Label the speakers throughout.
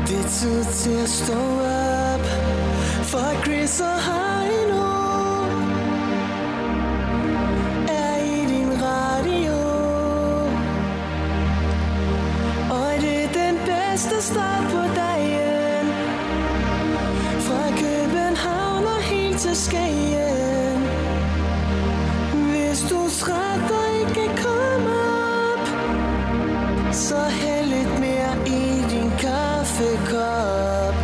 Speaker 1: altid til at stå op For Chris og Heino Er i din radio Og det er den bedste start på dagen Fra København og helt til Skagen Hvis du er træt og ikke kan komme op Så hæld lidt mere i din kaffekop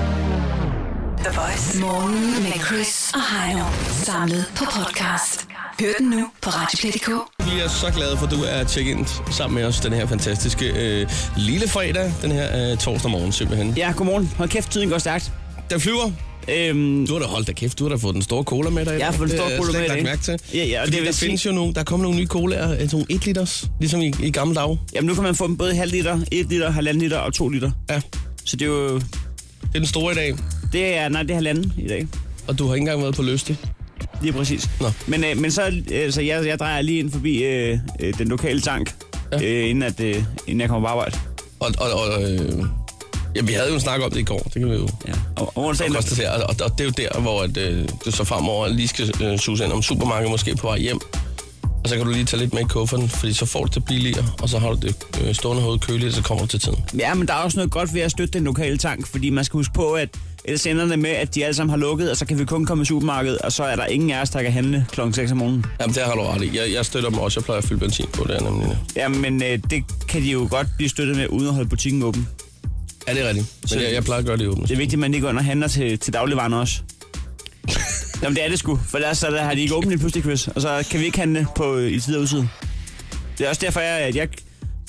Speaker 2: The Voice. Morgen med Chris og Heino. Samlet på podcast. Hør den nu på Radioplay.dk.
Speaker 3: Vi er så glade for, at du er tjekket ind sammen med os den her fantastiske øh, lille fredag, den her øh, torsdag morgen simpelthen. Ja.
Speaker 4: Ja, godmorgen. Hold kæft, tiden går stærkt.
Speaker 3: Den flyver.
Speaker 4: Øhm,
Speaker 3: Du har da holdt da kæft, du har da fået den store cola med dig. i
Speaker 4: Jeg har
Speaker 3: dag.
Speaker 4: fået den
Speaker 3: Det
Speaker 4: store
Speaker 3: har
Speaker 4: cola
Speaker 3: slet
Speaker 4: med
Speaker 3: ikke
Speaker 4: i dag.
Speaker 3: lagt mærke til.
Speaker 4: Ja, ja, og
Speaker 3: Fordi
Speaker 4: det vil
Speaker 3: der
Speaker 4: sige-
Speaker 3: findes jo nogle, der er kommet nogle nye colaer, øh, nogle 1 liters, ligesom i, i gamle dage.
Speaker 4: jamen, nu kan man få dem både halv liter, 1 liter, halvanden liter og 2 liter.
Speaker 3: Ja,
Speaker 4: Så det er jo...
Speaker 3: det er den store i dag,
Speaker 4: Det er, nej, det er halvanden i dag.
Speaker 3: og du har ikke engang været på løste.
Speaker 4: Lige præcis.
Speaker 3: Nå.
Speaker 4: Men, øh, men så, øh, så jeg, jeg drejer lige ind forbi øh, øh, den lokale tank,
Speaker 3: Ja.
Speaker 4: ja. øh, inden, at, øh, inden jeg kommer på arbejde.
Speaker 3: Og, og, og øh, ja, vi havde jo en snak om det i går, det kan vi jo
Speaker 4: Ja. Og, og onsdagen,
Speaker 3: og konstatere. Og, og, og det er jo der, hvor at, øh, du så fremover lige skal øh, suse ind om supermarkedet, måske på vej hjem. Og så kan du lige tage lidt med i kufferten, fordi så får du det billigere, og så har du det øh, stående hoved køligt, og så kommer du til tiden.
Speaker 4: Ja, men der er også noget godt ved at støtte den lokale tank, fordi man skal huske på, at ellers ender det med, at de alle sammen har lukket, og så kan vi kun komme i supermarkedet, og så er der ingen af os, der kan handle kl. 6 om morgenen.
Speaker 3: Jamen, det har du ret i. Jeg, jeg støtter dem også. Jeg plejer at fylde benzin på der nemlig.
Speaker 4: Ja, men øh, det kan de jo godt blive støttet med, uden at holde butikken åben.
Speaker 3: Ja, det er rigtigt. Men jeg, jeg plejer at gøre det åbent.
Speaker 4: Det er vigtigt, at man lige går ind og handler til, til dagligvarerne også. Jamen det er det sgu, for ellers så har de ikke åbent lige pludselig, Chris. Og så kan vi ikke handle på, øh, i tid og udside. Det er også derfor, jeg, at jeg,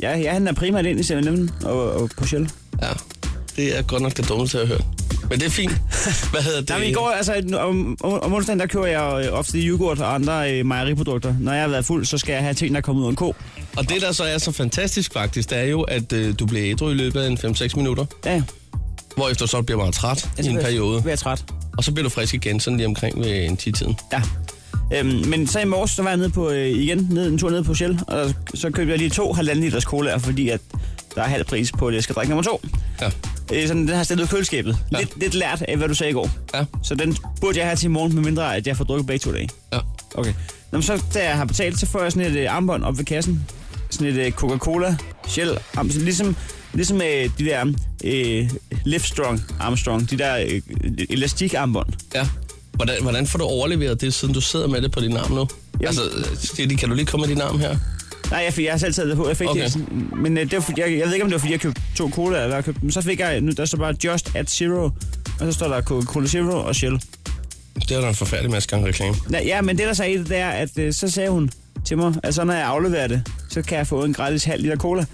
Speaker 4: jeg, jeg handler primært ind i 7 og, og på Shell.
Speaker 3: Ja. Det er godt nok det dummeste, jeg har hørt. Men det er fint. Hvad hedder det?
Speaker 4: Nej, men i går, altså nu- om, om, om onsdagen, der køber jeg øh, ofte yoghurt og andre øh, mejeriprodukter. Når jeg har været fuld, så skal jeg have ting, der er kommet ud af en ko.
Speaker 3: Og det, der så er så fantastisk faktisk, det er jo, at øh, du bliver ædru i løbet af en 5-6 minutter,
Speaker 4: Ja,
Speaker 3: hvorefter du så bliver meget træt i
Speaker 4: altså,
Speaker 3: en periode.
Speaker 4: Jeg er træt.
Speaker 3: Og så bliver du frisk igen, sådan lige omkring ved en 10-tiden.
Speaker 4: Ja. Øhm, men så i morges, så var jeg nede på, øh, igen, ned, en tur ned på Shell, og så købte jeg lige to halvanden liters cola, fordi at der er halv pris på, at jeg skal drikke nummer to.
Speaker 3: Ja.
Speaker 4: Øh, sådan, den har jeg stillet ud i køleskabet.
Speaker 3: Ja.
Speaker 4: Ja. Lidt, lidt lært af, hvad du sagde i går.
Speaker 3: Ja.
Speaker 4: Så den burde jeg have til i morgen, medmindre at jeg får drukket begge to dage.
Speaker 3: Ja.
Speaker 4: Okay. Nå, men så da jeg har betalt, så får jeg sådan et øh, armbånd op ved kassen. Sådan et øh, Coca-Cola Shell armbånd. Ligesom, ligesom øh, de der øh, Livestrong Armstrong, de der øh, elastik armbånd.
Speaker 3: ja. Hvordan, hvordan får du overleveret det, siden du sidder med det på din arm nu? Jamen.
Speaker 4: Jamen-
Speaker 3: Altså, Stilly, kan du lige komme med din arm her?
Speaker 4: Nej, jeg, fik, jeg har selv taget det på. Jeg fik
Speaker 3: Okay.
Speaker 4: okay. det, sådan- men øh, det var, fordi- jeg, jeg ved ikke, om det var, fordi jeg købte to cola, eller hvad jeg købte. Men så fik jeg, nu der står bare Just at Zero, og så står der Coca-Cola Zero og Shell.
Speaker 3: Det er da en forfærdelig masse gange reklame.
Speaker 4: Nej, ja, men det der sagde det, det er, at øh, så sagde hun til mig, at så når jeg afleverer det, så kan jeg få en gratis halv liter cola.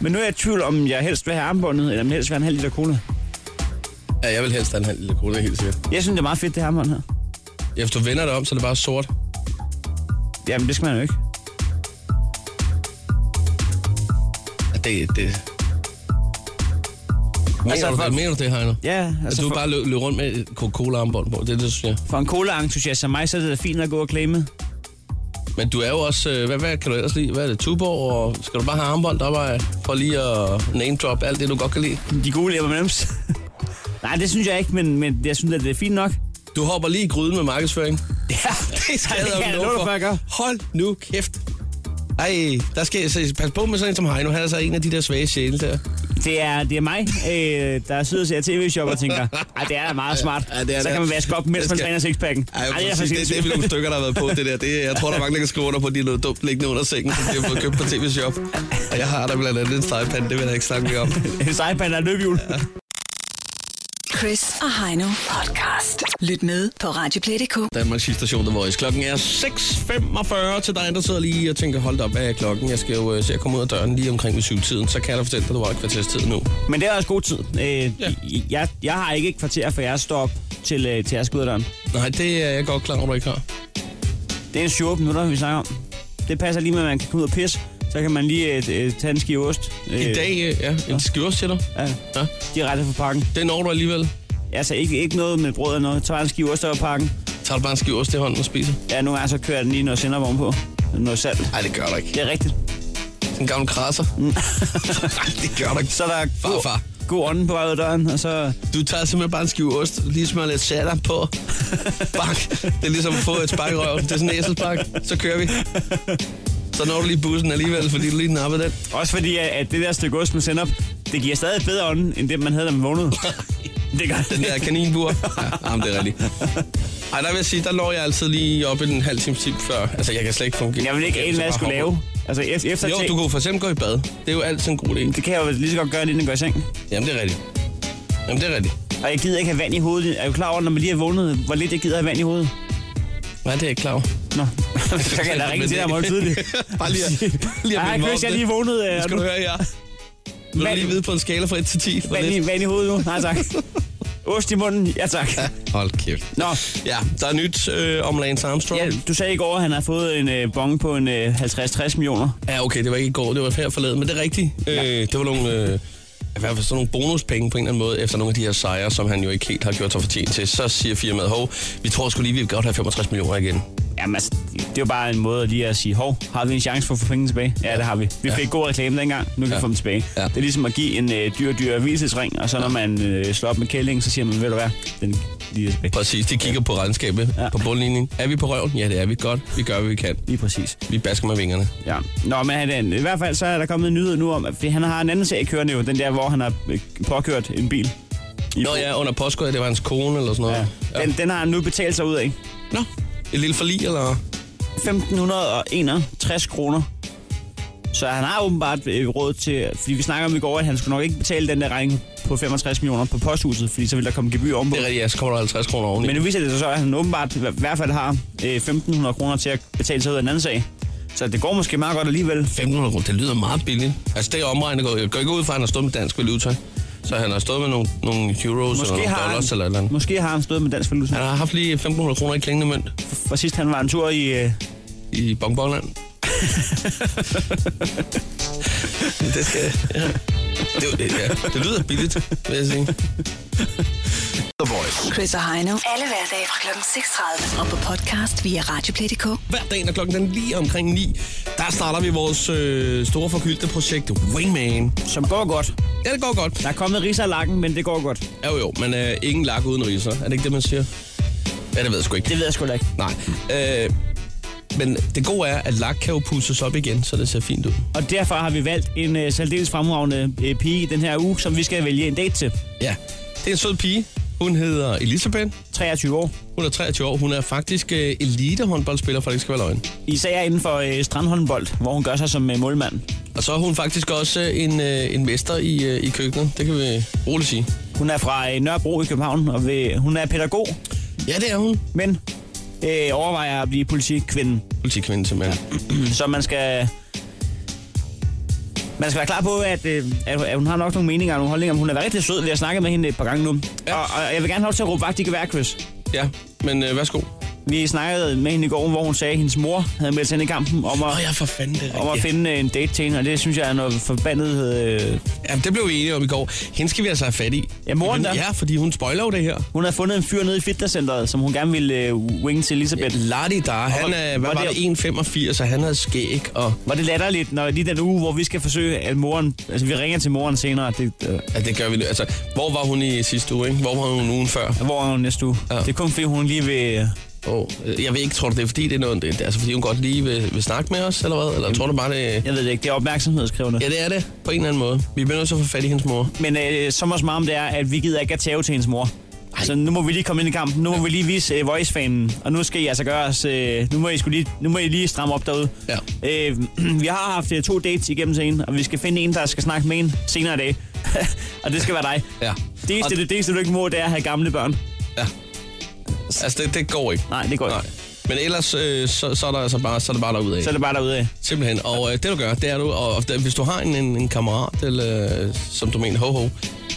Speaker 4: Men nu er jeg i tvivl om, jeg helst vil have armbåndet, eller om jeg helst vil have en halv liter cola.
Speaker 3: Ja, jeg vil helst have en halv lille cola, helt sikkert.
Speaker 4: Jeg synes, det er meget fedt, det her armbånd her.
Speaker 3: Ja, hvis du vender det om, så er det bare sort.
Speaker 4: Jamen, det skal man jo ikke.
Speaker 3: Ja, det, det... Mener,
Speaker 4: Altså,
Speaker 3: altså, du,
Speaker 4: for-
Speaker 3: det? Mener du det, Heino?
Speaker 4: Ja,
Speaker 3: Altså,
Speaker 4: altså
Speaker 3: du
Speaker 4: for,
Speaker 3: bare løb, løb rundt med et Coca-Cola-armbånd på, det er det, du siger.
Speaker 4: for en cola-entusiast som mig, så er det da fint at gå og klemme.
Speaker 3: Men du er jo også... øh, Hvad, hvad kan du ellers lide? Hvad er det? Tuborg? Og skal du bare have armbånd op af, for lige at name-drop alt det, du godt kan lide?
Speaker 4: De gode lever med dem. Nej, det synes jeg ikke, men, men jeg synes, at det er fint nok.
Speaker 3: Du hopper lige i gryden med markedsføring.
Speaker 4: Ja,
Speaker 3: Det skal
Speaker 4: det
Speaker 3: jeg
Speaker 4: kan jeg
Speaker 3: love
Speaker 4: love dig for,
Speaker 3: for.
Speaker 4: jeg gør.
Speaker 3: Hold nu kæft. Ej, der skal så pas på med sådan en som Heino. Han er så en af de der svage sjæle der.
Speaker 4: Det er, det er mig, øh, der sidder og ser tv-shop og tænker, ej, det er da meget smart.
Speaker 3: Ja, det er
Speaker 4: så
Speaker 3: det.
Speaker 4: kan man vaske op,
Speaker 3: Det
Speaker 4: mens man
Speaker 3: skal-
Speaker 4: træner sixpacken.
Speaker 3: Ej, Ej,
Speaker 4: det er
Speaker 3: det, det, det er vi nogle stykker, der har været på det der. Det, jeg tror, der er mange, der kan skrive under på, at de er noget dumt liggende under sengen, som de har fået købt på tv-shop. Og jeg har der blandt andet en stegepande, det vil jeg ikke snakke mere om.
Speaker 4: En sejpand og løbhjul. Ja.
Speaker 2: Chris og Heino podcast. Lyt med på Radioplay.dk.
Speaker 3: Danmarks station, The Voice. Klokken er 6.45 til dig, der sidder lige og tænker, hold da op, hvad er klokken? Jeg skal jo øh, se at komme ud af døren lige omkring ved syvtiden, så kan jeg da fortælle dig, at du har et kvarters tid nu.
Speaker 4: Men det er også god tid. Øh, ja. jeg, jeg har ikke et kvarter, for jeg står op til, øh, til Askeuderen.
Speaker 3: Nej, det er jeg godt klar over, du ikke har.
Speaker 4: Det er 7 minutter, vi snakker om. Det passer lige med, at man kan komme ud og pisse. Så kan man lige øh, øh, tage en skive ost. Øh,
Speaker 3: I dag, øh, ja, en skivers til dig.
Speaker 4: Ja,
Speaker 3: Ja,
Speaker 4: direkte fra pakken.
Speaker 3: det når du alligevel.
Speaker 4: Altså ikke, ikke noget med brød eller noget. Så bare en skive ost over pakken.
Speaker 3: Tager du bare en skive ost i hånden og spiser?
Speaker 4: Ja, nogle gange så kører jeg den lige noget sendervogn på. Noget salt.
Speaker 3: Nej, det gør du ikke.
Speaker 4: Det er rigtigt.
Speaker 3: En gammel krasser. Nej, det gør du ikke.
Speaker 4: Så er der
Speaker 3: Farfar.
Speaker 4: god ånden på vej ud af døren, og så...
Speaker 3: Du tager simpelthen bare en skive ost, lige smører lidt satter på. Bak. Det er ligesom at få et spark i røven. Det er sådan en æselspark. Så kører vi. Så når du lige bussen alligevel, fordi du lige nappede den.
Speaker 4: Også fordi, at, at det der stykke ost med sennep, det giver stadig bedre ånden, end det, man havde, da man vågnede. det gør
Speaker 3: Den
Speaker 4: det.
Speaker 3: der kaninbur. Ja, jamen, det er rigtigt. Ej, der vil jeg sige, der når jeg altid lige op i den halv times tip før. Altså, jeg kan slet ikke fungere.
Speaker 4: Jeg vil ikke ane, hvad jeg skulle lave. Altså, ef- efter
Speaker 3: Jo, du kunne for eksempel gå i bad. Det er jo altid en god idé.
Speaker 4: Det kan jeg jo lige så godt gøre, inden jeg går i seng.
Speaker 3: Jamen, det er rigtigt. Jamen, det er rigtigt.
Speaker 4: Og jeg gider ikke have vand i hovedet. Er du klar over, når man lige er vågnet, hvor lidt jeg gider have vand i hovedet?
Speaker 3: Nej, det er jeg ikke klar over.
Speaker 4: Nå, så kan jeg da ringe
Speaker 3: Men
Speaker 4: til
Speaker 3: det-
Speaker 4: dig i morgen tidligt.
Speaker 3: Bare lige at, lige at
Speaker 4: Ej,
Speaker 3: minde mig
Speaker 4: Chris,
Speaker 3: om
Speaker 4: jeg er
Speaker 3: det.
Speaker 4: lige vågnet.
Speaker 3: Det
Speaker 4: øh,
Speaker 3: skal du
Speaker 4: nu.
Speaker 3: høre, ja. Vil du
Speaker 4: Vand-
Speaker 3: lige vide på en skala fra 1 til 10? Hvor
Speaker 4: Vand
Speaker 3: lidt?
Speaker 4: i, vand i hovedet nu. Nej, tak. Ost i munden. Ja, tak.
Speaker 3: Hold kæft.
Speaker 4: Nå,
Speaker 3: Ja, der er nyt øh, om Lance Armstrong.
Speaker 4: ja, du sagde i går, at han har fået en øh, bong på en øh, 50-60 millioner.
Speaker 3: Ja, okay, det var ikke i går, det var her forleden, men det er rigtigt. Ja. Øh, det var nogle, øh, i hvert fald sådan nogle bonuspenge på en eller anden måde, efter nogle af de her sejre, som han jo ikke helt har gjort sig fortjent til. Så siger firmaet, hov, vi tror sgu lige, vi vil godt have 65 millioner igen.
Speaker 4: Jamen altså, det er jo bare en måde lige at sige, hov, har vi en chance for at få pengene tilbage? Ja, det har vi. Vi fik god reklame dengang, nu kan
Speaker 3: Ja.
Speaker 4: vi få dem tilbage.
Speaker 3: Ja.
Speaker 4: Det er ligesom at give en øh, dyr, dyr avisesring, og så når man øh, slår op med kællingen, så siger man, ved du hvad, den lige er tilbage.
Speaker 3: Præcis, de kigger på regnskabet, ja.
Speaker 4: Ja.
Speaker 3: på bundlinjen. Er vi på røven? Ja, det er vi godt. Vi gør, hvad vi kan.
Speaker 4: Lige præcis.
Speaker 3: Vi basker med vingerne.
Speaker 4: Ja. Nå, men han, i hvert fald så er der kommet en nyhed nu om, at fordi han har en anden serie kørende jo, den der, hvor han har øh, påkørt en bil. I
Speaker 3: Nå ja, under påskud, det var hans kone eller sådan
Speaker 4: Ja.
Speaker 3: noget. Ja.
Speaker 4: Den, den har han nu betalt sig ud af.
Speaker 3: Nå, et lille forlig, eller?
Speaker 4: 1561 kroner. Så han har åbenbart øh, råd til, fordi vi snakker om i går, at han skulle nok ikke betale den der regning på 65 millioner på posthuset, fordi så ville der komme gebyr ovenpå.
Speaker 3: Det er rigtigt, ja, så kommer der 50 kroner oveni.
Speaker 4: Men
Speaker 3: Men...
Speaker 4: nu viser det sig så, at han åbenbart i hvert fald har øh, 1500 kroner til at betale sig ud af en anden sag. Så det går måske meget godt alligevel.
Speaker 3: 1500 kroner, det lyder meget billigt. Altså det er omregnet, går, jeg går ikke ud fra, at han har stået med dansk valutøj. Så han har stået med nogle, nogle euros
Speaker 4: Måske
Speaker 3: eller nogle
Speaker 4: har han-
Speaker 3: dollars eller et eller andet.
Speaker 4: Måske har han stået med dansk valuta.
Speaker 3: Han har haft lige 1.500 kroner i klingende mønt
Speaker 4: For sidst han var en tur i... Øh,
Speaker 3: i Bongbongland. det skal ja. Det, er jo det, ja. det lyder billigt, vil jeg sige.
Speaker 5: The Voice.
Speaker 2: Chris og Heino. Alle hverdage fra kl. 6.30. Og på podcast via Radioplay.dk.
Speaker 3: Hver dag, når klokken den er lige omkring 9, der starter vi vores øh, store forgyldte projekt Wingman.
Speaker 4: som går godt.
Speaker 3: Ja, det går godt.
Speaker 4: Der er kommet ris af lakken, men det går godt.
Speaker 3: Ja, jo, jo, men øh, ingen lak uden riser. Er det ikke det, man siger? Ja, det ved jeg sgu ikke.
Speaker 4: Det ved jeg sgu da ikke.
Speaker 3: Nej. Øh, men det gode er, at lak kan jo pusses op igen, så det ser fint ud.
Speaker 4: Og derfor har vi valgt en øh, særdeles fremragende øh, pige i den her uge, som vi skal vælge en date til.
Speaker 3: Ja. Det er en sød pige. Hun hedder Elisabeth.
Speaker 4: 23 år.
Speaker 3: Hun er 23 år. Hun er faktisk øh, elitehåndboldspiller, for det ikke skal være løgn.
Speaker 4: Især inden for øh, strandhåndbold, hvor hun gør sig som øh, målmand.
Speaker 3: Og så er hun faktisk også øh, en, øh, en mester i, øh, i køkkenet. Det kan vi roligt sige.
Speaker 4: Hun er fra øh, Nørrebro i København, og vil, hun er pædagog,
Speaker 3: Ja, det er hun.
Speaker 4: men øh, overvejer at blive politikvinde.
Speaker 3: Politikvinde simpelthen.
Speaker 4: Så man skal... Man skal være klar på, at, øh, at at hun har nok nogle meninger og nogle holdninger, men hun er været rigtig sød. Vi har snakket med hende et par gange nu.
Speaker 3: Ja.
Speaker 4: Ja. Og, og jeg vil gerne have lov til at råbe vagt i gevær, Chris.
Speaker 3: Ja, ja men øh, værsgo.
Speaker 4: Vi snakkede med hende i går, hvor hun sagde, at hendes mor havde meldt sig ind i kampen om at,
Speaker 3: Åh, ja, for fanden det er
Speaker 4: om at
Speaker 3: rigtigt.
Speaker 4: finde øh, en date til hende, og det synes jeg er noget forbandet... Øh,
Speaker 3: Ja, det blev vi enige om i går. Hende skal vi altså have fat i.
Speaker 4: Ja, moren der.
Speaker 3: Ja, fordi hun spoiler jo det her.
Speaker 4: hun havde fundet en fyr nede i fitnesscenteret, som hun gerne ville øh, winge til Elisabeth. Ja.
Speaker 3: Lardi der, han er, hvad
Speaker 4: var
Speaker 3: var
Speaker 4: det-
Speaker 3: det, 1,85, og han havde skæg, og
Speaker 4: Var det latterligt, når lige den uge, hvor vi skal forsøge, at moren... Altså, vi ringer til moren senere, det, øh,
Speaker 3: ja, det gør vi nu. Altså, hvor var hun i sidste uge, ikke? Hvor var hun ugen før?
Speaker 4: hvor er hun næste uge?
Speaker 3: Ja.
Speaker 4: Ja. Det er kun fordi, hun lige vil... Øh,
Speaker 3: Og, øh, jeg ved ikke, tror du, det er fordi, det er noget, det er, altså, fordi hun godt lige vil, vil snakke med os, eller hvad? Eller tror du bare, det...
Speaker 4: jeg ved det ikke, det er opmærksomhedskrævende. Ja.
Speaker 3: Ja, det er det, på en eller anden måde. Vi bliver nødt til at få fat i hendes mor.
Speaker 4: Men øh, så meget om det er, at vi gider ikke at tæve til hendes mor. Ej. Så nu må vi lige komme ind i kampen. Nu må vi lige vise øh, voice-fanen. Og nu skal I altså gøre os... Øh, nu, må I skulle lige, nu må I lige stramme op derude.
Speaker 3: Ja.
Speaker 4: Øh, vi har haft øh, to dates igennem til en, og vi skal finde en, der skal snakke med en senere i dag. og det skal være dig.
Speaker 3: Ja.
Speaker 4: Det eneste,
Speaker 3: Og-
Speaker 4: det, det eneste, du ikke må, det er at have gamle børn.
Speaker 3: Ja. Altså, det, det går ikke.
Speaker 4: Nej, det går ikke.
Speaker 3: Nej.
Speaker 4: Nej.
Speaker 3: Men ellers, øh, så, så, er der altså bare, så er det bare derudad.
Speaker 4: Så er det bare derude af.
Speaker 3: Simpelthen. Og øh, det du gør, det er du, og og hvis du har en, en, en kammerat, eller øh, som du mener, ho-ho,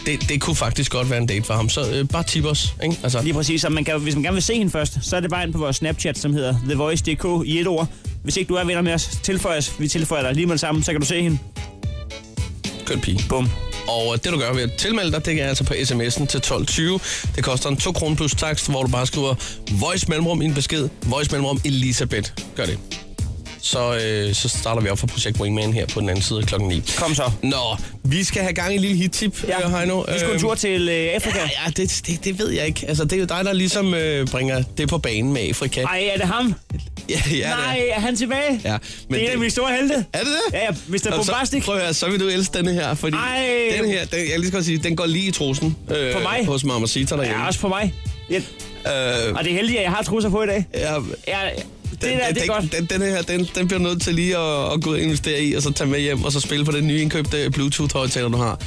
Speaker 3: det, det kunne faktisk godt være en date for ham, så øh, bare tip os, ikke? Altså,
Speaker 4: Lige præcis, og man kan, hvis man gerne vil se hende først, så er det bare ind på vores Snapchat, som hedder TheVoice.dk i et ord. Hvis ikke du er venner med os, tilføj os. Vi tilføjer dig lige med det samme, så kan du se hende.
Speaker 3: køn pige.
Speaker 4: Bum.
Speaker 3: Og øh, det du gør ved at tilmelde dig, det er altså på sms'en til 12.20. Det koster en 2 kroner plus takst, hvor du bare skriver voice mellemrum i en besked. Voice mellemrum Elisabeth. Gør det. så, øh, så starter vi op for Projekt Wingman her på den anden side klokken 9.
Speaker 4: Kom så.
Speaker 3: Nå, vi skal have gang i en lille hit-tip, ja. Heino.
Speaker 4: Vi skulle en tur til øh, Afrika.
Speaker 3: Ja, ja det, det, det ved jeg ikke. Altså, det er jo dig, der ligesom øh, bringer det på banen med Afrika.
Speaker 4: Ej, er det ham?
Speaker 3: ja, ja, det er.
Speaker 4: Nej, er han tilbage?
Speaker 3: Ja,
Speaker 4: men det er en af mine store helte.
Speaker 3: Er det det?
Speaker 4: Ja, ja, Mr.
Speaker 3: Jamen,
Speaker 4: Bombastic.
Speaker 3: Så, Altså, prøv at høre, så vil du elske denne her, fordi
Speaker 4: Ej.
Speaker 3: den her, den, jeg kan lige skal sige, den går lige i trusen. Øh,
Speaker 4: På mig?
Speaker 3: Hos Mamacita derhjemme.
Speaker 4: Ja, også på mig. Ja,
Speaker 3: Øh,
Speaker 4: og det er heldigt, at jeg har trusser på i dag.
Speaker 3: ja,
Speaker 4: Ja, det der, det er
Speaker 3: den,
Speaker 4: godt.
Speaker 3: Den, den her, den, den bliver du nødt til lige at, at gå ud og investere i, og så tage med hjem, og så spille på den nye indkøbte Bluetooth-højtaler, du har.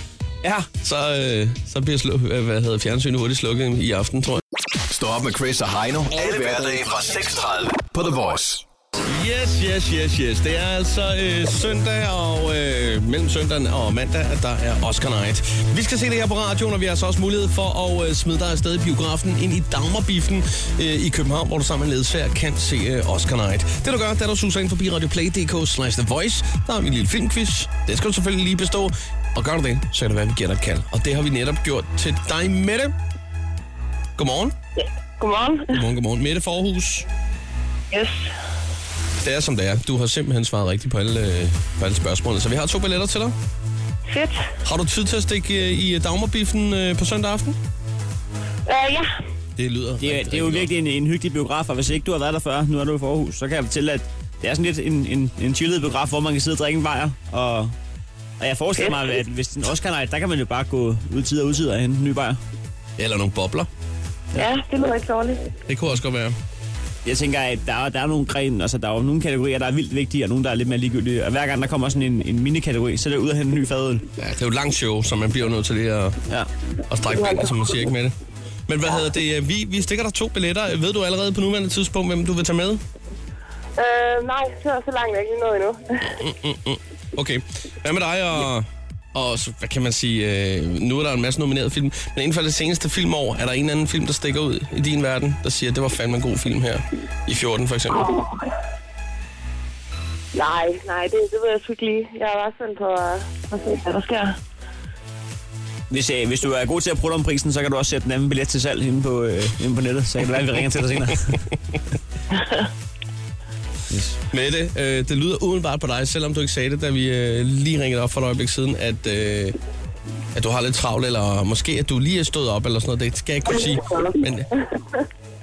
Speaker 4: Ja.
Speaker 3: Så, øh, så bliver slu, øh, hvad hedder, fjernsynet hurtigt slukket i aften, tror jeg.
Speaker 5: Stå op med Chris og Heino. Alle hverdage fra 6.30 på The Voice.
Speaker 3: Yes, yes, yes, yes. Det er altså øh, søndag og øh, mellem søndagen og mandag, at der er Oscar Night. Vi skal se det her på radioen, og vi har altså også mulighed for at øh, smide dig afsted i biografen ind i Dagmarbiffen øh, i København, hvor du sammen med ledsager kan se øh, Oscar Night. Det du gør, det er, at du suser ind forbi radioplay.dk slash The Voice. Der er min lille filmquiz. Den skal du selvfølgelig lige bestå. Og gør du det, så kan det være, at vi giver dig et kald. Og det har vi netop gjort til dig, Mette. Godmorgen.
Speaker 6: Godmorgen.
Speaker 3: Godmorgen, godmorgen. Mette Forhus.
Speaker 6: Yes.
Speaker 3: Det er som det er. Du har simpelthen svaret rigtigt på alle, øh, på alle spørgsmålene. Så vi har to billetter til dig.
Speaker 6: Fedt.
Speaker 3: Har du tid til at stikke øh, i øh, Dagmarbiffen øh, på søndag aften?
Speaker 6: Uh, ja.
Speaker 3: Det lyder
Speaker 4: Det er,
Speaker 3: rigtig,
Speaker 4: det er jo
Speaker 3: rigtig
Speaker 4: virkelig en, en hyggelig biograf, og hvis ikke du har været der før, nu er du i Forhus, så kan jeg fortælle, at det er sådan lidt en, en, en chillet biograf, hvor man kan sidde og drikke en bajer, og, og jeg forestiller mig, at hvis den Oscar night, der kan man jo bare gå ud tid og ud tid og hente en ny bajer.
Speaker 3: godt. Eller nogle bobler.
Speaker 6: Ja, det lyder ikke dårligt.
Speaker 3: Det kunne også godt være.
Speaker 4: Jeg tænker, at der er, der er nogle gren, altså der er jo nogle kategorier, der er vildt vigtige, og nogle, der er lidt mere ligegyldige, og hver gang der kommer sådan en, en mini-kategori, så er det ud og hente en ny fadøl.
Speaker 3: Ja, det er jo et langt show, så man bliver jo nødt til lige at,
Speaker 4: Ja.
Speaker 3: at strække bænken, som man siger ikke med det. Men hvad hedder det? øh, Vi, vi stikker dig to billetter. Ved du allerede på nuværende tidspunkt, hvem du vil tage med?
Speaker 6: Uh, nej, det er så langt væk lige noget endnu.
Speaker 3: Okay. Hvad med dig og... Og så, hvad kan man sige, øh, nu er der en masse nomineret film, men inden for det seneste filmår, er der en eller anden film, der stikker ud i din verden, der siger, at det var fandme en god film her i 14 for eksempel?
Speaker 6: Nej, nej, det, det ved jeg sgu ikke lige. Jeg er bare sådan på at, at se, hvad der sker.
Speaker 4: Hvis, øh, hvis du er god til at prutte om prisen, så kan du også sætte en anden billet til salg inde på, øh, inde på nettet, så kan det være, at vi ringer til dig senere.
Speaker 3: Mette, øh, det lyder udenbart på dig, selvom du ikke sagde det, da vi øh, lige ringede op for et øjeblik siden, at, øh, at du har lidt travlt, eller måske at du lige er stået op, eller sådan noget. Det skal jeg ikke kunne sige. Men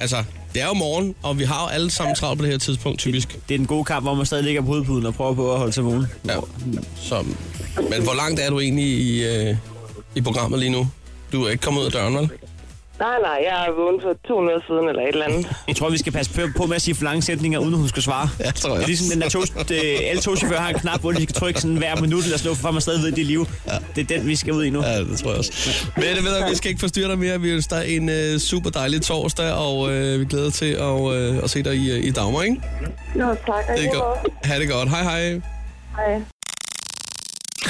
Speaker 3: altså, det er jo morgen, og vi har jo alle sammen travlt på det her tidspunkt, typisk.
Speaker 4: Det er den gode kamp, hvor man stadig ligger på hovedpuden og prøver på at holde sig vågen.
Speaker 3: Ja. Så, men hvor langt er du egentlig i, øh, i programmet lige nu? Du er ikke kommet ud af døren, vel?
Speaker 6: Nej, nej, jeg er vågen for 200 siden eller et eller andet.
Speaker 4: Jeg tror, vi skal passe på- på med at sige for lange sætninger, uden at hun skal svare.
Speaker 3: Ja, tror jeg.
Speaker 4: Ligesom den der tog, de, alle togchauffører har en knap, hvor de skal trykke sådan hver minut eller sådan noget, for at man stadig ved, at de er i live. Det er den, vi skal ud i nu.
Speaker 3: Ja, det tror jeg også. Mette, ved du, vi skal ikke forstyrre dig mere. Vi ønsker dig en øh, super dejlig torsdag, og øh, vi glæder os til at, øh, at se dig i, øh, i Dagmar, ikke?
Speaker 6: Nå, tak.
Speaker 3: Det er godt. Ha' det godt. Hej hej.
Speaker 6: Hej.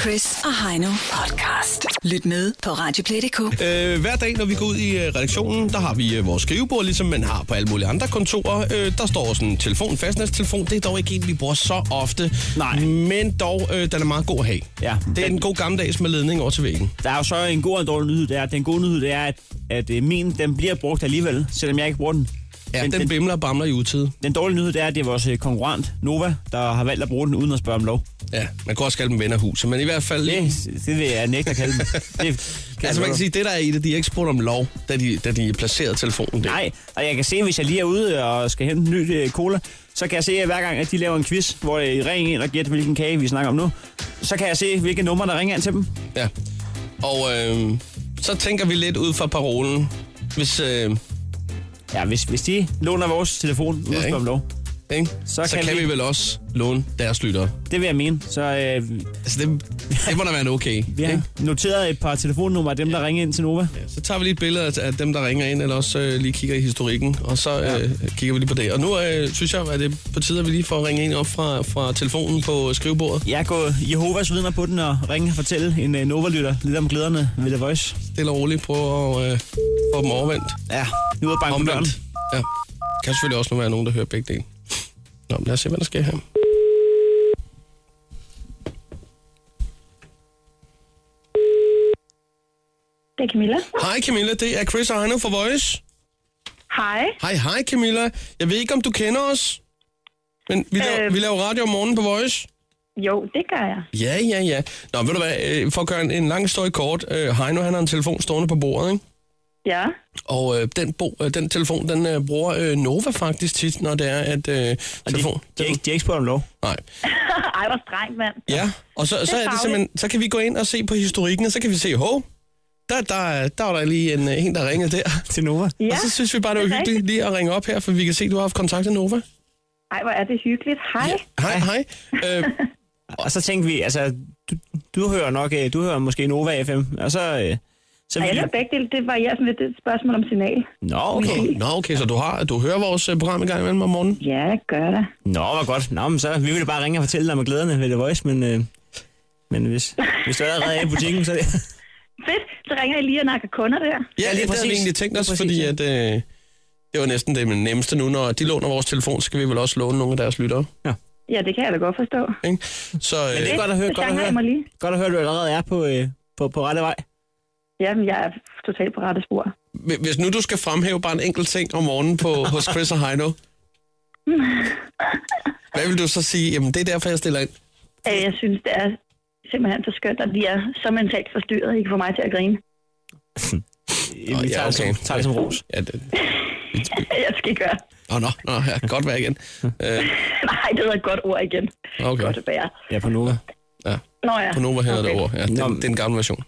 Speaker 2: Chris og Heino podcast. Lyt med på Radioplay.dk.
Speaker 3: Øh, hver dag, når vi går ud i øh, redaktionen, der har vi øh, vores skrivebord, ligesom man har på alle mulige andre kontorer. Øh, der står sådan en telefon, fastnætstelefon. Det er dog ikke en, vi bruger så ofte.
Speaker 4: Nej.
Speaker 3: Men dog, øh, den er meget god at have.
Speaker 4: Ja,
Speaker 3: Det er
Speaker 4: den-
Speaker 3: en god gammeldags med ledning over til væggen.
Speaker 4: Der er jo så en god og en dårlig nyhed. Det er, at den gode nyhed det er, at, at øh, min den bliver brugt alligevel, selvom jeg ikke bruger den.
Speaker 3: Ja,
Speaker 4: Men
Speaker 3: den bimler og bamler i utid.
Speaker 4: den dårlige nyhed det er, at det er vores øh, konkurrent, Nova, der har valgt at bruge den uden at spørge om lov.
Speaker 3: Ja, man kan også kalde dem venner huset, men i hvert fald...
Speaker 4: Det, det vil jeg nægte at kalde den. Det kan
Speaker 3: Altså man
Speaker 4: jeg
Speaker 3: kan sige, det der er i det, de har ikke spurgt om lov, da de, da de placerede telefonen der.
Speaker 4: Nej, og jeg kan se, hvis jeg lige er ude og skal hente en ny øh, cola, så kan jeg se, at hver gang, at de laver en quiz, hvor øh, I ringer ind og gætter, hvilken kage vi snakker om nu, så kan jeg se, hvilke numre, der ringer ind til dem.
Speaker 3: Ja. Og øh, så tænker vi lidt ud fra parolen. Hvis, øh,
Speaker 4: Ja, hvis, hvis de låner vores telefon, uden
Speaker 3: Ja,
Speaker 4: at spørge om
Speaker 3: ikke?
Speaker 4: lov,
Speaker 3: ikke?
Speaker 4: Så
Speaker 3: Så, så
Speaker 4: kan
Speaker 3: kan, kan
Speaker 4: vi-
Speaker 3: vi... vel også låne deres lyttere.
Speaker 4: det vil jeg mene. Så øh,
Speaker 3: Altså, det, det må da være en okay.
Speaker 4: vi
Speaker 3: ikke?
Speaker 4: har noteret et par telefonnumre af dem, der ringer ind til Nova.
Speaker 3: Så tager vi lige et billede af- af dem, der ringer ind, eller også øh, lige kigger i historikken, og så øh, kigger vi lige på det. Og nu øh, synes jeg, at det er på tide, at vi lige får ringe ind op fra, fra telefonen på skrivebordet.
Speaker 4: Jeg går Jehovas vidner på den og ringe og fortælle en øh, Nova-lytter lidt om glæderne ved The Voice.
Speaker 3: Stille og roligt prøve at øh, få dem overvendt.
Speaker 4: Ja, nu er banken på døren.
Speaker 3: Omvendt. Ja. Kan selvfølgelig også nu være nogen, der hører begge dele. Nå, men lad os se, hvad der sker her.
Speaker 6: Det er Camilla.
Speaker 3: Hej Camilla, det er Chris og Heino fra Voice.
Speaker 6: Hej.
Speaker 3: Hej, hej Camilla. Jeg ved ikke, om du kender os? Men vi laver,
Speaker 6: Øh.
Speaker 3: vi laver radio om morgenen på Voice.
Speaker 6: Jo, det gør jeg.
Speaker 3: Ja, ja, ja. Nå, ved du hvad, øh, for at gøre en, en lang story kort, øh, Heino han har en telefon stående på bordet, ikke?
Speaker 6: Ja.
Speaker 3: Og øh, den, bo, øh, den telefon, den øh, bruger øh, Nova faktisk tit, når det er, at øh,
Speaker 4: De,
Speaker 3: telefon...
Speaker 4: de, har ikke, de har ikke spurgt om lov.
Speaker 3: Nej.
Speaker 6: Ej, hvor strengt, mand.
Speaker 3: Ja, og så, så, er det
Speaker 6: fagligt.
Speaker 3: simpelthen, så kan vi gå ind og se på historikken, og så kan vi se, hov, der, der, der var der lige en, øh, en der ringede der.
Speaker 4: Til Nova.
Speaker 3: Ja, og så synes vi bare, det var
Speaker 6: er
Speaker 3: hyggeligt lige at ringe op her, for vi kan se, at du har haft kontakt til Nova.
Speaker 6: rigtigt. Ej, hvor er det hyggeligt. Hej. Ja.
Speaker 3: Hej, hej. Øh,
Speaker 4: Og så tænkte vi, altså, du, du hører nok, øh, du hører måske Nova FM, og så... øh, Så
Speaker 6: Ej, jeg
Speaker 4: vi...
Speaker 6: hører begge dele. Det var jeg sådan lidt et spørgsmål om signal.
Speaker 4: Nå, okay.
Speaker 3: nå, okay, så du, har, du hører vores øh, program i gang imellem om morgenen?
Speaker 6: Ja, gør det.
Speaker 4: Nå, hvor godt. Nå, men så, vi ville bare ringe og fortælle dig om glæderne ved The Voice, men, øh, men hvis, hvis du allerede er i butikken, så er det...
Speaker 6: Fedt. Så ringer jeg lige og nakker kunder der.
Speaker 3: Ja,
Speaker 4: lige
Speaker 3: det havde vi
Speaker 4: præcis.
Speaker 3: egentlig tænkt os,
Speaker 4: Lige
Speaker 3: fordi
Speaker 4: præcis,
Speaker 3: at, øh, det var næsten det nemmeste nu. Når de låner vores telefon, så skal vi vel også låne nogle af deres lyttere.
Speaker 6: Ja, det kan jeg da godt forstå.
Speaker 3: Ikke? Så øh,
Speaker 4: Men det er godt at høre,
Speaker 6: Så
Speaker 4: godt at
Speaker 6: sjanger jeg
Speaker 4: høre,
Speaker 6: mig lige.
Speaker 4: godt at høre, at du allerede er på, øh, på, på rette vej.
Speaker 6: Jamen, jeg er totalt på rette spor.
Speaker 3: hvi- hvis nu du skal fremhæve bare en enkelt ting om morgenen på, hos Chris og Heino, hvad vil du så sige? Jamen, det er derfor, jeg stiller ind.
Speaker 6: Øh, Jeg synes, det er simpelthen så skønt, at de er så mentalt forstyrret. I kan få mig til at grine.
Speaker 4: Vi
Speaker 3: Åh, ja,
Speaker 4: tager, det som,
Speaker 3: okay.
Speaker 4: tager det som ros.
Speaker 3: Ja, det,
Speaker 6: Jeg skal gøre.
Speaker 3: oh, nå, nå, jeg kan godt være igen. Øh,
Speaker 6: Nej, det er et godt ord igen.
Speaker 3: okay,
Speaker 6: Godt at bære.
Speaker 4: Ja, på Nova.
Speaker 6: Nå ja.
Speaker 3: på Nova hedder det ord. Ja, det,
Speaker 4: Nå, men-
Speaker 3: det er en gammel version.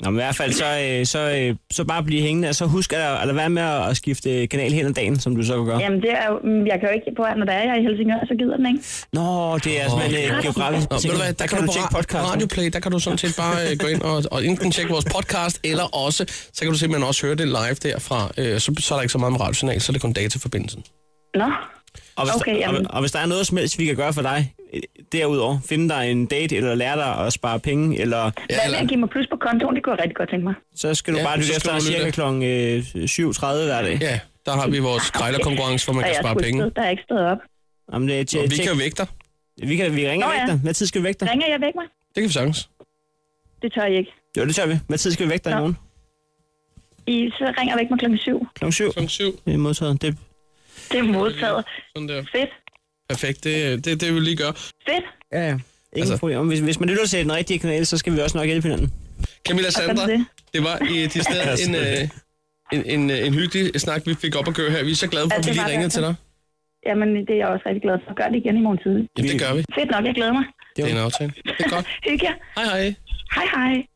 Speaker 4: Nå, men i hvert fald, så, øh, så, øh, så bare blive hængende, og så husk at, at lade være med at at skifte kanal hen ad dagen, som du så kan gøre.
Speaker 6: Jamen, det er jo, mm, jeg kan jo ikke på, at når der er jeg er i Helsingør, så gider den ikke.
Speaker 4: Nå, det er
Speaker 3: Åh.
Speaker 4: simpelthen øh, geografisk
Speaker 3: Nå, ved du
Speaker 4: betinget.
Speaker 3: hvad, der,
Speaker 4: Der
Speaker 3: kan, du,
Speaker 4: tjekke
Speaker 3: på ra-
Speaker 4: podcasten.
Speaker 3: Radioplay, der kan du sådan set bare øh, gå ind og, og enten tjekke vores podcast, eller også, så kan du simpelthen også høre det live derfra. Øh, så, så er der ikke så meget med radiosignal, så er det kun dataforbindelsen.
Speaker 6: Nå,
Speaker 4: Og
Speaker 6: Okay,
Speaker 4: hvis, okay, og,
Speaker 6: jamen.
Speaker 4: og hvis der er noget som helst, vi kan gøre for dig, øh, derudover, finde dig en date, eller lære dig at spare penge, eller
Speaker 6: hvad med at give mig plus på kontoen? Det kunne jeg rigtig godt tænke mig.
Speaker 4: så skal du
Speaker 3: Ja,
Speaker 4: ja, bare
Speaker 3: så
Speaker 4: lytte
Speaker 3: skal
Speaker 4: efter
Speaker 3: du lytte.
Speaker 4: cirka kl. øh, 7.30 hver dag.
Speaker 3: ja, der har vi vores grejlerkonkurrence, hvor man
Speaker 6: Og
Speaker 3: kan
Speaker 6: Ah, jeg
Speaker 3: spare
Speaker 6: skulle
Speaker 3: penge.
Speaker 6: sidde- Der er ikke stået op.
Speaker 4: Jamen, det er tjek,
Speaker 3: Og vi kan jo vække dig.
Speaker 4: vi, kan, vi ringer
Speaker 6: Nå,
Speaker 4: Nå,
Speaker 6: ja.
Speaker 4: væk dig. Hvad tid skal vi vække dig?
Speaker 6: Ringer jeg væk mig?
Speaker 3: Det kan vi sagtens.
Speaker 6: Det tør jeg ikke.
Speaker 4: Jo, det tør vi. Hvad tid skal vi vække dig i
Speaker 6: Nå.
Speaker 4: morgen?
Speaker 6: I, så ringer jeg væk mig klokken 7.
Speaker 4: Klokken 7.
Speaker 3: Klokken syv.
Speaker 4: Det er modtaget. Det,
Speaker 6: Det er modtaget.
Speaker 3: Sådan der.
Speaker 6: Fedt.
Speaker 3: Perfekt. Det, det, det vil vi lige gøre.
Speaker 6: Fedt.
Speaker 4: ja, ja. Ingen
Speaker 3: Altså-
Speaker 4: altså. problem. Hvis, hvis man lytter til den rigtige kanal, så skal vi også nok hjælpe hinanden.
Speaker 3: Camilla
Speaker 6: sådan
Speaker 3: Sandra,
Speaker 6: det.
Speaker 3: det var i det sted en, øh, en, en, øh, en hyggelig snak, vi fik op at køre her. Vi er så glade for,
Speaker 6: Ja,
Speaker 3: at vi
Speaker 6: det
Speaker 3: lige
Speaker 6: var det
Speaker 3: ringede
Speaker 6: altså.
Speaker 3: til dig.
Speaker 6: Jamen, det er jeg også rigtig glad for. Gør det igen i morgen tidlig.
Speaker 3: Jamen, det gør vi.
Speaker 6: Fedt nok, jeg glæder mig.
Speaker 3: Det er en aftale. Det er godt.
Speaker 6: Hygge jer.
Speaker 3: Hej hej.
Speaker 6: Hej, hej.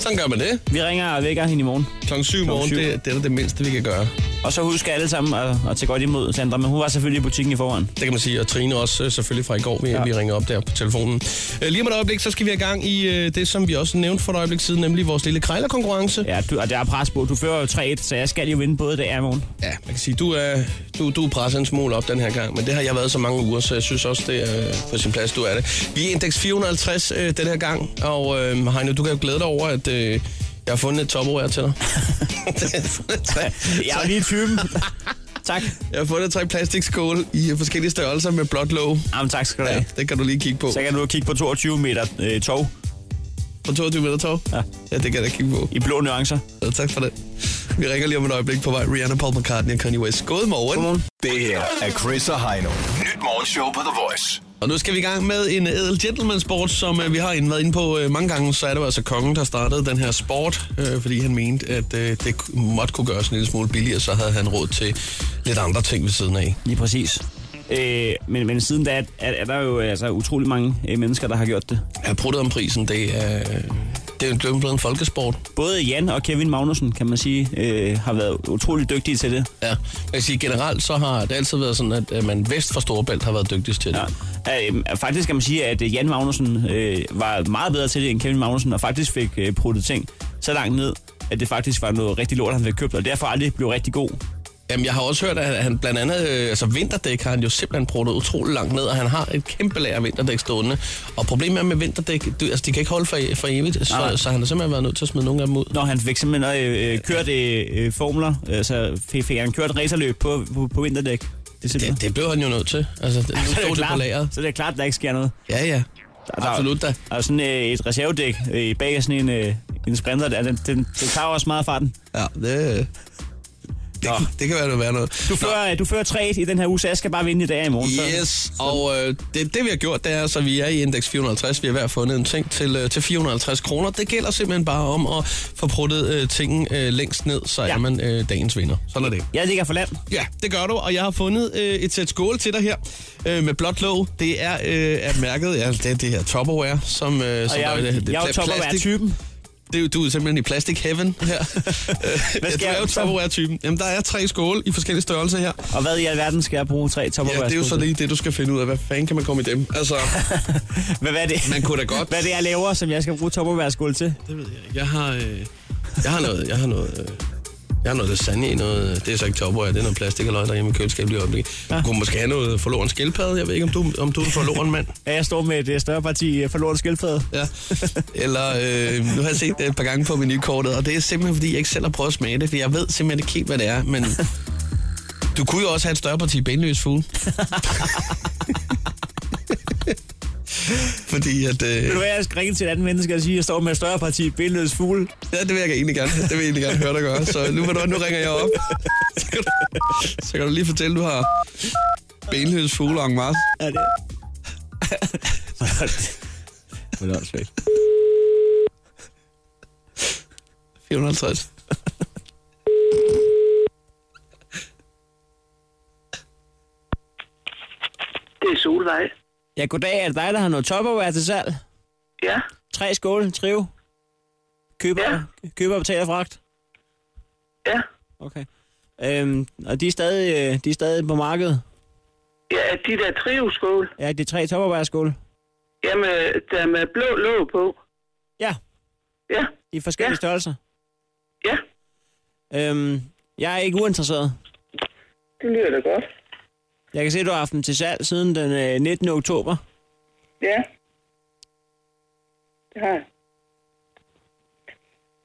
Speaker 3: Sådan gør man det.
Speaker 4: Vi ringer og vækker hende i morgen.
Speaker 3: Klokken syv i morgen,
Speaker 4: syv.
Speaker 3: det, det er da det mindste, vi kan gøre.
Speaker 4: Og så husker alle sammen at, at tage godt imod Sandra, men hun var selvfølgelig i butikken i forhånd.
Speaker 3: Det kan man sige, og Trine også øh, selvfølgelig fra i går, vi, ja. vi ringer op der på telefonen. Øh, Lige om et øjeblik, så skal vi have gang i øh, det, som vi også nævnte for et øjeblik siden, nemlig vores lille krejlerkonkurrence. Ja.
Speaker 4: Ja, du, og der er pres på. Du fører jo 3-1, så jeg skal jo vinde både det er i morgen.
Speaker 3: ja, man kan sige, du er, du, du er presset en smule op den her gang, men det har jeg været så mange uger, så jeg synes også, det er øh, på sin plads, du er det. Vi er indeks 450 øh, den her gang, og øh, Heino, du kan jo glæde dig over, at øh, jeg har fundet et topord til dig.
Speaker 4: Jeg er jo lige typen. tak.
Speaker 3: jeg har fundet tre plastikskåle i øh, forskellige størrelser med blåt låg.
Speaker 4: Jamen, tak skal du have.
Speaker 3: Ja, det kan du lige kigge på.
Speaker 4: Så kan du kigge på 22 meter øh, tog
Speaker 3: På 22 meter tog?
Speaker 4: Ja.
Speaker 3: ja, det kan jeg da kigge på.
Speaker 4: i blå nuancer.
Speaker 3: Ja, tak for det. Vi ringer lige om et øjeblik på vej. Rihanna, Paul McCartney og Kanye West. Godmorgen.
Speaker 4: Godmorgen.
Speaker 5: Det her er Chris og Heino. Nyt morgenshow på The Voice.
Speaker 3: Og nu skal vi i gang med en edel gentleman sport, som øh, vi har været inde på øh, mange gange. Så er det jo altså kongen, der startede den her sport, øh, fordi han mente, at øh, det ku- måtte kunne gøres en lille smule billigere, så havde han råd til lidt andre ting ved siden af.
Speaker 4: Lige præcis. Øh, men, men siden da er, er, er der jo altså, utrolig mange øh, mennesker, der har gjort det.
Speaker 3: Jeg pruttet om prisen, det er, det er jo blevet en folkesport.
Speaker 4: Både Jan og Kevin Magnussen, kan man sige, øh, har været utrolig dygtige til det.
Speaker 3: Ja. Jeg kan sige, generelt så har det altid været sådan, at øh, man vest for Storebælt har været dygtigst til det.
Speaker 4: Ja. Øh, faktisk kan man sige, at øh, Jan Magnussen øh, var meget bedre til det end Kevin Magnussen, og faktisk fik øh, pruttet ting så langt ned, at det faktisk var noget rigtig lort, han fik købt, og derfor aldrig blev rigtig god.
Speaker 3: Jamen, jeg har også hørt, at han blandt andet, øh, altså vinterdæk har han jo simpelthen brugt utrolig langt ned, og han har et kæmpe lager vinterdæk stående. Og problemet er med vinterdæk, du, altså de kan ikke holde for, for evigt, så,
Speaker 4: Nej.
Speaker 3: så han har simpelthen været nødt til at smide nogle af dem ud.
Speaker 4: Når han fik simpelthen øh, øh, kørt øh, øh, formler, øh, så fik, fik han kørt racerløb på, på, på vinterdæk. Det er simpelthen...
Speaker 3: Det, det blev han jo nødt til. Altså, det, nu
Speaker 4: så,
Speaker 3: stod
Speaker 4: er det
Speaker 3: det på
Speaker 4: klart,
Speaker 3: lageret.
Speaker 4: så er det er klart, at der ikke sker noget.
Speaker 3: Ja, ja.
Speaker 4: Der, der,
Speaker 3: Absolut da.
Speaker 4: Der er sådan øh, et reservedæk øh, bag af sådan en, øh, en sprinter, der, den, den, den tager også meget farten.
Speaker 3: Ja, det, det, kan, det kan være, det være noget.
Speaker 4: Du fører, du fører 3 i den her uge, så jeg skal bare vinde i dag og i morgen. Så.
Speaker 3: Yes, og øh, det, det vi har gjort, det er, så vi er i indeks 450. Vi har hver fundet en ting til, øh, til 450 kroner. Det gælder simpelthen bare om at få pruttet øh, tingen øh, længst ned, så ja.
Speaker 4: Ja.
Speaker 3: er man øh, dagens vinder. Sådan er det.
Speaker 4: Jeg ligger for land.
Speaker 3: Ja, det gør du, og jeg har fundet øh, et sæt skåle til dig her øh, med blåt låg. Det er øh, at mærket, ja, det er det her Tupperware, som, øh,
Speaker 4: Og
Speaker 3: som
Speaker 4: jeg,
Speaker 3: der
Speaker 4: jeg,
Speaker 3: det,
Speaker 4: jeg er jo
Speaker 3: pla-
Speaker 4: topper
Speaker 3: plastik-
Speaker 4: typen.
Speaker 3: det, er jo- du er simpelthen i plastic heaven her. Hvad ja,
Speaker 4: skal
Speaker 3: du
Speaker 4: jeg-
Speaker 3: er jo Tupperware-typen. Jamen, der er tre skåle i forskellige størrelser her.
Speaker 4: Og hvad i alverden skal jeg bruge tre topper
Speaker 3: Ja, det er jo så lige det, du skal finde ud af. Hvad fanden kan man komme i dem? Altså,
Speaker 4: Hvad, hvad er det?
Speaker 3: man kunne da godt...
Speaker 4: Hvad er det, jeg laver, som jeg skal bruge topperværskål til?
Speaker 3: Det ved jeg ikke. Jeg har, øh, jeg har noget, jeg har noget, øh, jeg har noget lasagne i noget, øh, det er så ikke topper, det er noget plastik eller derhjemme i køleskabet lige i øjeblikket. Du kunne måske have noget forloren skildpadde, jeg ved ikke, om du, om du er en forloren mand.
Speaker 4: Ja, jeg står med et øh, større parti øh, forlort skildpadde.
Speaker 3: Ja. Eller, øh, nu har jeg set det et par gange på menukortet, og det er simpelthen, fordi jeg ikke selv har prøvet at smage det, for jeg ved simpelthen ikke helt, hvad det er, men du kunne jo også have et større parti benløs fugle. fordi at... Øh,
Speaker 4: Ved du hvad, jeg skal ringe til et andet menneske og sige, at jeg står med et større parti benløs fugle.
Speaker 3: Ja, det vil jeg egentlig gerne, det vil jeg egentlig gerne høre dig gøre. Så nu, ved du hvad, nu ringer jeg op. Så kan du, så kan du lige fortælle, du har benløs fugle en masse.
Speaker 4: Er det? Hvor er det åndssvagt.
Speaker 3: 450.
Speaker 6: Det er Solvej.
Speaker 4: Ja, goddag. Er det dig, der har noget topperware til salg?
Speaker 6: Ja,
Speaker 4: Tre skåle, trio. Køber, ja. køber og betaler fragt.
Speaker 6: ja.
Speaker 4: Okay. Øhm, og de er, stadig, øh, de er stadig på markedet.
Speaker 6: Ja, de der trivskål,
Speaker 4: Ja, det er tre topperværskål.
Speaker 6: jamen, der er med blå låg på.
Speaker 4: Ja,
Speaker 6: Ja,
Speaker 4: i forskellige ja.
Speaker 6: Ja.
Speaker 4: størrelser.
Speaker 6: ja.
Speaker 4: Øhm, jeg er ikke uinteresseret.
Speaker 6: Det lyder da godt.
Speaker 4: Jeg kan se, at du har haft dem til salg siden den øh, 19. oktober.
Speaker 6: Ja. Det har jeg.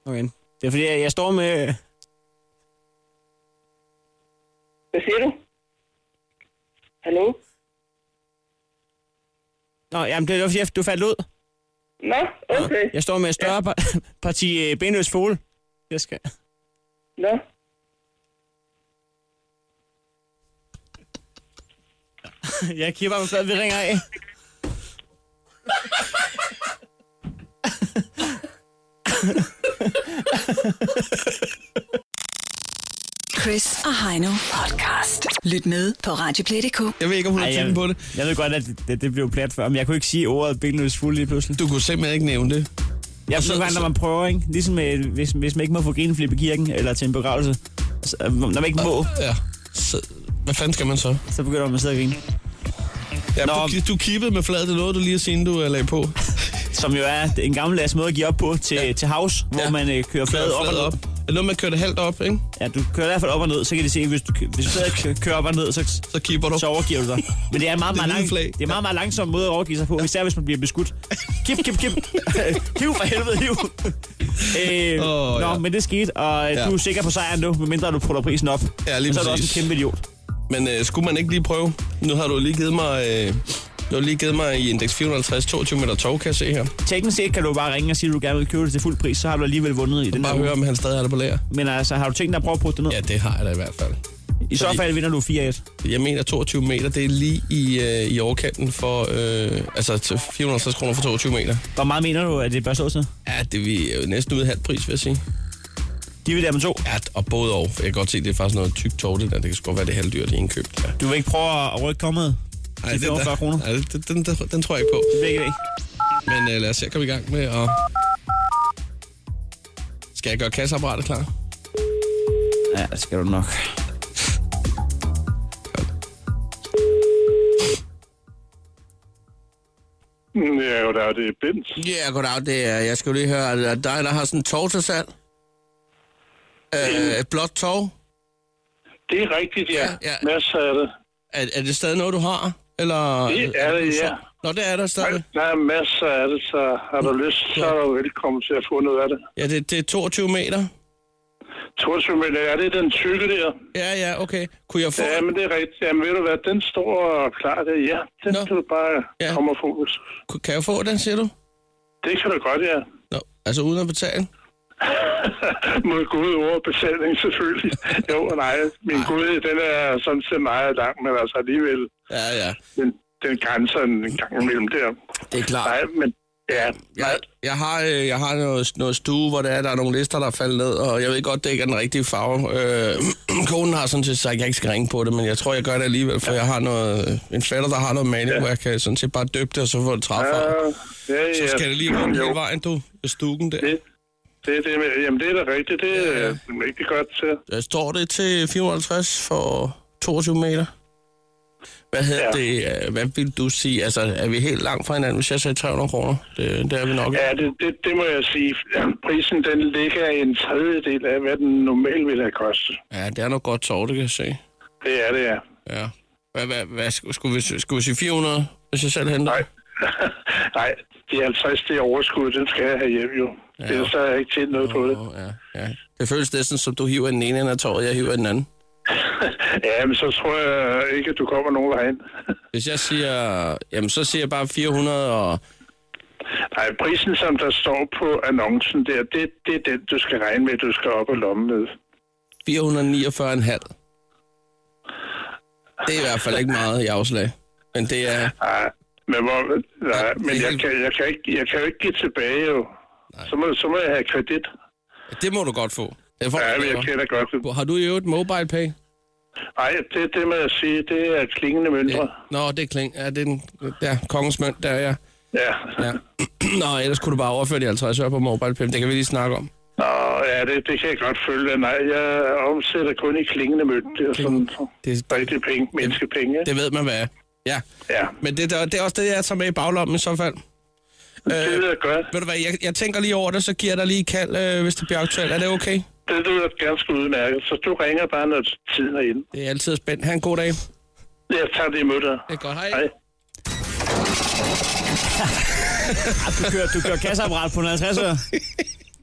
Speaker 4: Okay. Det er fordi, jeg, jeg står med... øh,
Speaker 6: Hvad siger du? Hallo?
Speaker 4: Nå, jamen, det er fordi, jeg- du faldt ud.
Speaker 6: Nå, okay.
Speaker 4: Jeg står med et større ja. parti øh, benløs fugle. Jeg skal...
Speaker 6: Nå.
Speaker 4: Jeg kigger bare på pladen, vi ringer af.
Speaker 2: Chris og Heino podcast. Lyt med på Radioplay.dk.
Speaker 3: Jeg ved ikke, om hun har tænkt på det.
Speaker 4: jeg ved godt, at det, det, det blev plat før, men jeg kunne ikke sige ordet benløs fugle lige pludselig.
Speaker 3: Du kunne simpelthen ikke nævne det.
Speaker 4: Jeg
Speaker 3: så-
Speaker 4: så, godt,
Speaker 3: så-
Speaker 4: når man prøver, ikke? Ligesom øh, hvis, hvis man ikke må få grineflip i kirken, eller til en begravelse. Altså, øh, når man ikke må,
Speaker 3: Ja. Så, hvad fanden skal man så?
Speaker 4: så begynder man at sidde og grine.
Speaker 3: Ja,
Speaker 4: Nå.
Speaker 3: du, du kippede med flad, det nåede du lige at sige, du øh, lagde på.
Speaker 4: Som jo er en gammeldags måde at give op på til,
Speaker 3: Ja.
Speaker 4: ja. til house, hvor
Speaker 3: Ja.
Speaker 4: ja. man øh, kører flad op og ned.
Speaker 3: op. Er noget, man kørte halvt op, ikke?
Speaker 4: Ja, du kører i hvert fald op og ned, så kan de se, hvis du, hvis du stadig kø- kører op og ned, så,
Speaker 3: Så kipper du.
Speaker 4: så overgiver du dig. Men det er en meget,
Speaker 3: Det
Speaker 4: meget,
Speaker 3: hvide
Speaker 4: lang,
Speaker 3: flag.
Speaker 4: det er en meget, meget langsom måde at overgive sig på, især hvis man bliver beskudt. Kip, kip, kip. hiv for helvede, hiv.
Speaker 3: Åh,
Speaker 4: øh, oh, nå,
Speaker 3: ja.
Speaker 4: ja. men det skete, og
Speaker 3: Ja.
Speaker 4: ja. du er sikker på sejren nu, medmindre du putter prisen op.
Speaker 3: Ja, lige
Speaker 4: Men så er du også
Speaker 3: præcis.
Speaker 4: en kæmpe idiot.
Speaker 3: Men øh, skulle man ikke lige prøve? Nu har du lige givet mig... Øh, du har lige givet mig i indeks 450 22 meter tog, kan jeg se her.
Speaker 4: Teknisk set kan du bare ringe og sige, at du gerne vil købe det til fuld pris, så har du alligevel vundet i den
Speaker 3: Bare
Speaker 4: her
Speaker 3: høre, om han stadig har det på lager.
Speaker 4: uge. Men altså, har du tænkt dig at prøve at putte det ned?
Speaker 3: Ja, det har jeg da i hvert fald.
Speaker 4: I så
Speaker 3: fordi-
Speaker 4: fald vinder du 4-1.
Speaker 3: Jeg mener, 22 meter, det er lige i, øh, i overkanten for... Øh, altså til 450 kroner for 22 meter.
Speaker 4: Hvor meget mener du, at det bør stå til?
Speaker 3: Ja, det er vi jo næsten ude i halv pris, vil jeg sige.
Speaker 4: De vil der med to.
Speaker 3: Ja, og både og. Jeg kan godt se, det er faktisk noget tykt tog, det der. Det kan sgu godt være, det er halvdyrt i indkøb. Ja.
Speaker 4: Du vil ikke prøve at rykke kommet? De 45 kroner.
Speaker 3: Ja, den, den, den, den, tror jeg ikke på.
Speaker 4: Begge dage.
Speaker 3: Men øh, lad os se at komme i gang med at... Skal jeg gøre kasseapparatet klar?
Speaker 4: Ja, det skal du nok.
Speaker 7: Mm, Ja, og der er det Bent.
Speaker 3: Ja, yeah, goddag. Det er, jeg skal jo lige høre, er det dig, der har sådan en tog til salg? Øh, et blåt tog?
Speaker 7: Det er rigtigt, ja.
Speaker 3: Ja, ja.
Speaker 7: Masser af det.
Speaker 3: Er, er det stadig noget, du har? Eller,
Speaker 7: Det er det, ja.
Speaker 3: Nå, det er der stadig.
Speaker 7: Der er masser af det, så har du lyst, så er du velkommen til at få noget af det.
Speaker 3: Ja, det, det er 22 meter.
Speaker 7: 22 meter, er det den tykke der?
Speaker 3: Ja, ja, okay. Kunne jeg få...
Speaker 7: Ja, men det er rigtigt. Jamen, ved du hvad, den står klar der. Ja, den
Speaker 3: Nå.
Speaker 7: kan du bare
Speaker 3: Ja.
Speaker 7: komme og få. hvis-
Speaker 3: Kan jeg få den, siger du?
Speaker 7: Det kan du godt, ja.
Speaker 3: Nå, altså uden at betale?
Speaker 7: Mod gode ord og besætning, selvfølgelig. Jo, og nej, min gode, den er sådan set meget lang, men altså alligevel,
Speaker 3: Ja, ja.
Speaker 7: den, den grænser en gang imellem der.
Speaker 3: Det er klart.
Speaker 7: Nej, men ja, nej,
Speaker 3: Jeg, jeg har, øh, jeg har noget, noget stue, hvor det er, der er nogle lister, der er faldet ned, og jeg ved godt, det ikke er den rigtige farve. Øh, konen har sådan set sagt, at jeg ikke skal ringe på det, men jeg tror, jeg gør det alligevel, for jeg har noget, øh, en fætter, der har noget maling, ja. hvor jeg kan sådan set bare døbe det, og så få det
Speaker 7: ja,
Speaker 3: træfarve. Ja.
Speaker 7: ja, Ah, Øh, ja.
Speaker 3: Så skal det lige rundt
Speaker 7: Jo,
Speaker 3: hele vejen, du, i stukken der.
Speaker 7: det, det, er det, med- jamen, det er da rigtigt. Det er ja. rigtig godt til.
Speaker 3: Der Øh, står det til 450 for 22 meter. Hvad hedder ja. det? øh, Hvad vil du sige? Altså, er vi helt langt fra hinanden, hvis jeg sagde 300 kroner? Det, det er vi nok.
Speaker 7: Ja, det, det, det må jeg sige. Prisen den ligger en tredjedel af, hvad den normalt ville have kostet.
Speaker 3: ja det er nok godt tårer, det kan jeg se.
Speaker 7: Det er det, ja.
Speaker 3: Ja. Hvad, hvad, hvad skulle, skulle, vi, skulle vi sige 400, hvis jeg selv henter?
Speaker 7: Nej. Nej, de 50, det overskud, den skal jeg have hjem jo. Ja. Ellers har jeg ikke tjent noget på det.
Speaker 3: Åh, ja, ja. Det føles næsten som, du hiver den ene ende af tåret, jeg hiver den anden.
Speaker 7: Ja, men så tror jeg ikke, at du kommer nogen vej ind.
Speaker 3: Hvis jeg siger, jamen så siger jeg bare 400 og...
Speaker 7: Nej, prisen, som der står på annoncen der, det, det er den, du skal regne med, du skal op og lomme med.
Speaker 3: 449,5. Det er i hvert fald ikke meget i afslag. Men det er...
Speaker 7: Nej, men, hvor, nej, men jeg, kan, jeg, kan ikke, jeg kan jo ikke give tilbage jo. Så må, så må jeg have kredit.
Speaker 3: Det må du godt få. Det får
Speaker 7: Ja, men
Speaker 3: du
Speaker 7: jeg
Speaker 3: godt.
Speaker 7: kan da godt.
Speaker 3: Har du i øvrigt mobile pay?
Speaker 7: Nej, det, det må jeg sige, det er klingende møntre.
Speaker 3: Nå, det er kling. Ja, det er den der kongens mønt, der er jeg.
Speaker 7: Ja.
Speaker 3: Ja. Nå, ellers kunne du bare overføre de 50 øre på mobile pay. Det kan vi lige snakke om.
Speaker 7: Nå, ja, det, det kan jeg godt følge. Nej, jeg omsætter kun i klingende mønt. Det er sådan
Speaker 3: Det er
Speaker 7: rigtig penge, menneskepenge.
Speaker 3: Det ved man, hvad er. Ja.
Speaker 7: Ja.
Speaker 3: Men det, er- det er også det, jeg tager med i baglommen i så fald.
Speaker 7: Det
Speaker 3: Øh,
Speaker 7: lyder godt.
Speaker 3: ved du hvad, jeg, jeg tænker lige over det, så giver jeg dig lige et kald, øh, hvis det bliver aktuelt. Er det okay?
Speaker 7: Det lyder ganske udmærket. Så du ringer bare, når tiden er inde.
Speaker 3: Det er altid spændt. Ha' en god dag. Det
Speaker 7: Jeg tager det imod dig.
Speaker 3: er godt. Hej.
Speaker 7: Hej.
Speaker 4: Du kører, du kører kasseapparat på 150 øre.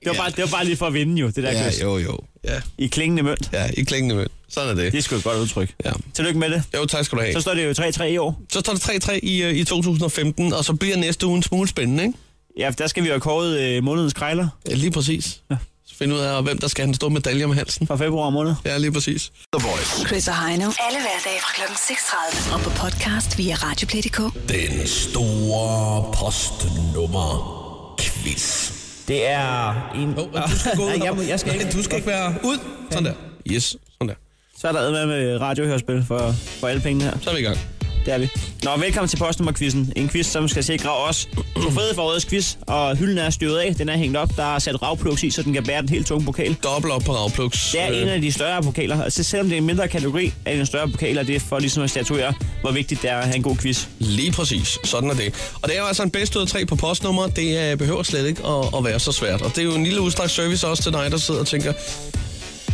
Speaker 4: Det var, bare, det var bare lige for at vinde jo, det der ja,
Speaker 3: jo, jo. Ja,
Speaker 4: I klingende mønt.
Speaker 3: ja i klingende mød. Sådan er
Speaker 4: Det er sgu et godt udtryk.
Speaker 3: Ja.
Speaker 4: Tillykke med det.
Speaker 3: Jo, tak skal du have.
Speaker 4: Så står det jo 3-3 i år.
Speaker 3: Så står det 3-3 i, øh, i 2015, og så bliver næste uge en smule spændende, ikke?
Speaker 4: Ja, for der skal vi jo have kåret øh, månedens krejler
Speaker 3: Ja, lige præcis. Ja. Så finde ud af, hvem der skal have en stor medalje om halsen.
Speaker 4: fra februar måned.
Speaker 3: Ja, lige præcis.
Speaker 5: The Voice.
Speaker 2: Chris og Heino. Alle hverdage fra kl. 6.30. Og på podcast via Radioplay.dk.
Speaker 8: Den store postnummer quiz.
Speaker 4: Det er en...
Speaker 3: Jo, du skal gå ud.
Speaker 4: Nej, jeg, må- jeg skal ikke.
Speaker 3: Du skal ikke være ud. Sådan der. Yes, sådan der.
Speaker 4: Så er der med med radiohørspil for, for alle pengene her.
Speaker 3: Så er vi i gang.
Speaker 4: Det er vi. Nå, velkommen til postnummerquizzen. En quiz, som skal sikre os trofæet for årets quiz. Og hylden er styret af. Den er hængt op. Der er sat ravpluks i, så den kan bære den helt tunge pokal.
Speaker 3: Dobbelt op på Øh, Ravplugs.
Speaker 4: Det er en af de større pokaler. Og så selvom det er en mindre kategori, er det en større pokal, og det er for ligesom at statuere, hvor vigtigt det er at have en god quiz.
Speaker 3: Lige præcis. Sådan er det. Og det er jo altså en bedst ud af tre på postnummer. Det øh, behøver slet ikke at, at være så svært. Og det er jo en lille udstrakt service også til dig, der sidder og tænker,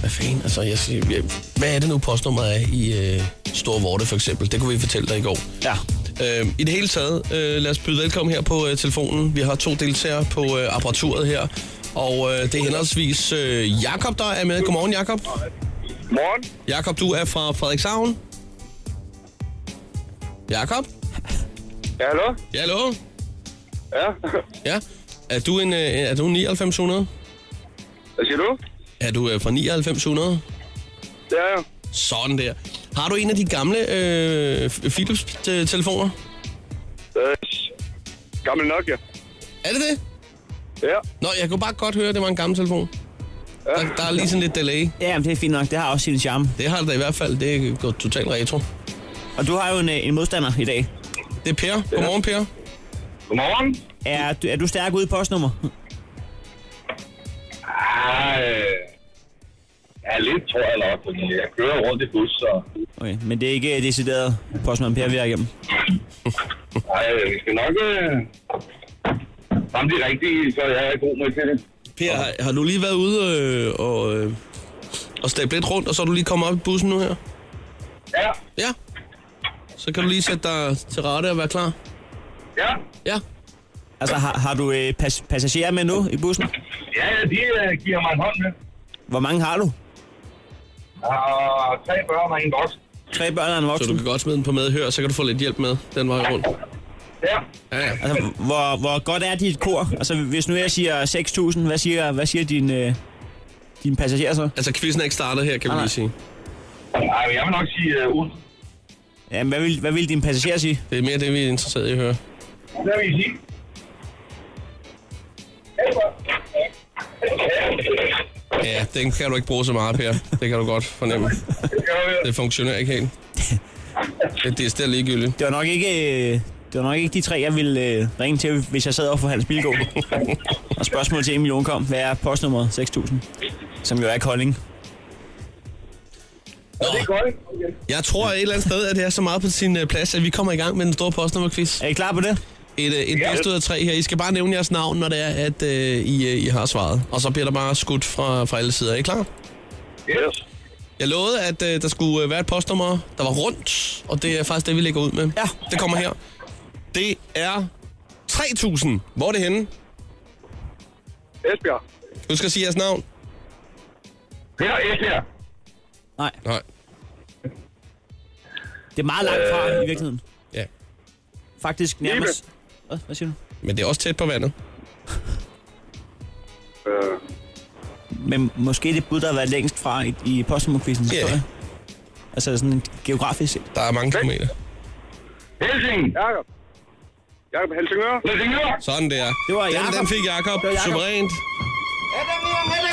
Speaker 3: hvad fanden, altså, jeg siger, jeg- hvad er det nu postnummeret er i øh, Store Vorte for eksempel? Det kunne vi fortælle dig i går.
Speaker 4: Ja.
Speaker 3: Øh, I det hele taget, øh, lad os byde velkommen her på øh, telefonen. Vi har to deltagere på øh, apparaturet her. Og øh, det er henholdsvis øh, Jakob der er med. Godmorgen, Jakob.
Speaker 7: Morgen.
Speaker 3: Jakob, du er fra Frederikshavn. Jakob?
Speaker 7: Ja, hallo?
Speaker 3: Ja, hallo?
Speaker 7: Ja.
Speaker 3: Ja. Er du en, øh, er du en 9900?
Speaker 7: Hvad siger du?
Speaker 3: Er du øh, fra 9900?
Speaker 7: Ja, ja.
Speaker 3: Sådan der. Har du en af de gamle øh, Philips-telefoner?
Speaker 7: Øh, gammel Nokia.
Speaker 3: Er det det?
Speaker 7: Ja.
Speaker 3: Nå, jeg kunne bare godt høre, at det var en gammel telefon. Der, der er lige sådan lidt delay.
Speaker 4: Ja, men det er fint nok. Det har også sin charme.
Speaker 3: Det har det da i hvert fald. Det er gået totalt retro.
Speaker 4: Og du har jo en, øh, en modstander i dag.
Speaker 3: Det er Per. Godmorgen, Per.
Speaker 7: Godmorgen.
Speaker 4: Er, du- er du stærk ude i postnummer?
Speaker 9: Ej, ja, lidt tror Øh, jeg nok, fordi jeg kører rundt i bus, så
Speaker 4: Okay, men det er ikke øh, decideret postmand Per, vi er igennem.
Speaker 9: ej, vi skal nok øh, ramme de rigtige, så jeg er god med til det.
Speaker 3: Per, har, har du lige været ude øh, og, øh, og stablet lidt rundt, og så er du lige kommet op i bussen nu her?
Speaker 9: Ja,
Speaker 3: Ja. Så kan du lige sætte dig til rette og være klar.
Speaker 9: ja,
Speaker 3: Ja.
Speaker 4: Altså, har, har du øh, pas, passagerer med nu i bussen?
Speaker 9: ja, ja, de øh, giver mig en hånd med.
Speaker 4: Hvor mange har du?
Speaker 9: Jeg har tre børn og en voksen.
Speaker 4: Tre børn og en
Speaker 3: Så
Speaker 4: voksen.
Speaker 3: du kan godt smide den på medhør, så kan du få lidt hjælp med den vej rundt.
Speaker 9: Ja.
Speaker 3: Ja, ja.
Speaker 4: Altså, hvor, hvor godt er dit kor? Altså, hvis nu jeg siger 6.000, hvad siger, hvad siger din, øh, din passager så?
Speaker 3: Altså, quizzen er ikke startet her, kan vi
Speaker 4: Nej,
Speaker 3: lige sige.
Speaker 9: Ej, men jeg vil nok sige uh, ud.
Speaker 4: Jamen, hvad vil, hvad vil din passager sige?
Speaker 3: Det er mere det, vi er interesseret i at høre.
Speaker 9: Hvad vil I sige?
Speaker 3: Ja, den kan du ikke bruge så meget, Per. Det kan du godt fornemme. Det funktionerer ikke helt. Det, det er stadig ligegyldigt.
Speaker 4: Det var nok ikke, øh, det var nok ikke de tre, jeg ville øh, ringe til, hvis jeg sad over for Hans Bilgaard. og spørgsmålet til Emil kom, hvad er postnummeret 6.000? Som jo er Kolding.
Speaker 9: Godt. Okay.
Speaker 3: Jeg tror et eller andet sted, at det er så meget på sin øh, plads, at vi kommer i gang med den store postnummerquiz.
Speaker 4: Er I klar på det?
Speaker 3: Et, øh, et bedst ud af tre her. I skal bare nævne jeres navn, når det er, at øh, I, øh, I har svaret. Og så bliver der bare skudt fra, fra alle sider. Er I klar?
Speaker 9: Yes.
Speaker 3: Jeg lovede, at øh, der skulle øh, være et postnummer, der var rundt, og det er faktisk det, vi lægger ud med. Ja. Det kommer her. Det er 3000. Hvor er det henne?
Speaker 9: Esbjerg.
Speaker 3: Husk at sige jeres navn.
Speaker 9: Per Esbjerg.
Speaker 4: Nej,
Speaker 3: Nej.
Speaker 4: det er meget langt fra i virkeligheden.
Speaker 3: Ja.
Speaker 4: Faktisk nærmest... Hvad, hvad siger du?
Speaker 3: Men det er også tæt på vandet.
Speaker 9: Øh,
Speaker 4: Men måske det bud, der har været længst fra i, i postnummerquizzen.
Speaker 3: Ja.
Speaker 4: tror jeg. Altså sådan geografisk set.
Speaker 3: Der er mange kilometer.
Speaker 9: Helsing.
Speaker 7: Jakob. Jakob Helsingør.
Speaker 9: Helsingør.
Speaker 3: Sådan der.
Speaker 4: Det var
Speaker 3: den,
Speaker 4: Jakob.
Speaker 3: den fik Jakob.
Speaker 4: Det var Jakob.
Speaker 3: Suverænt.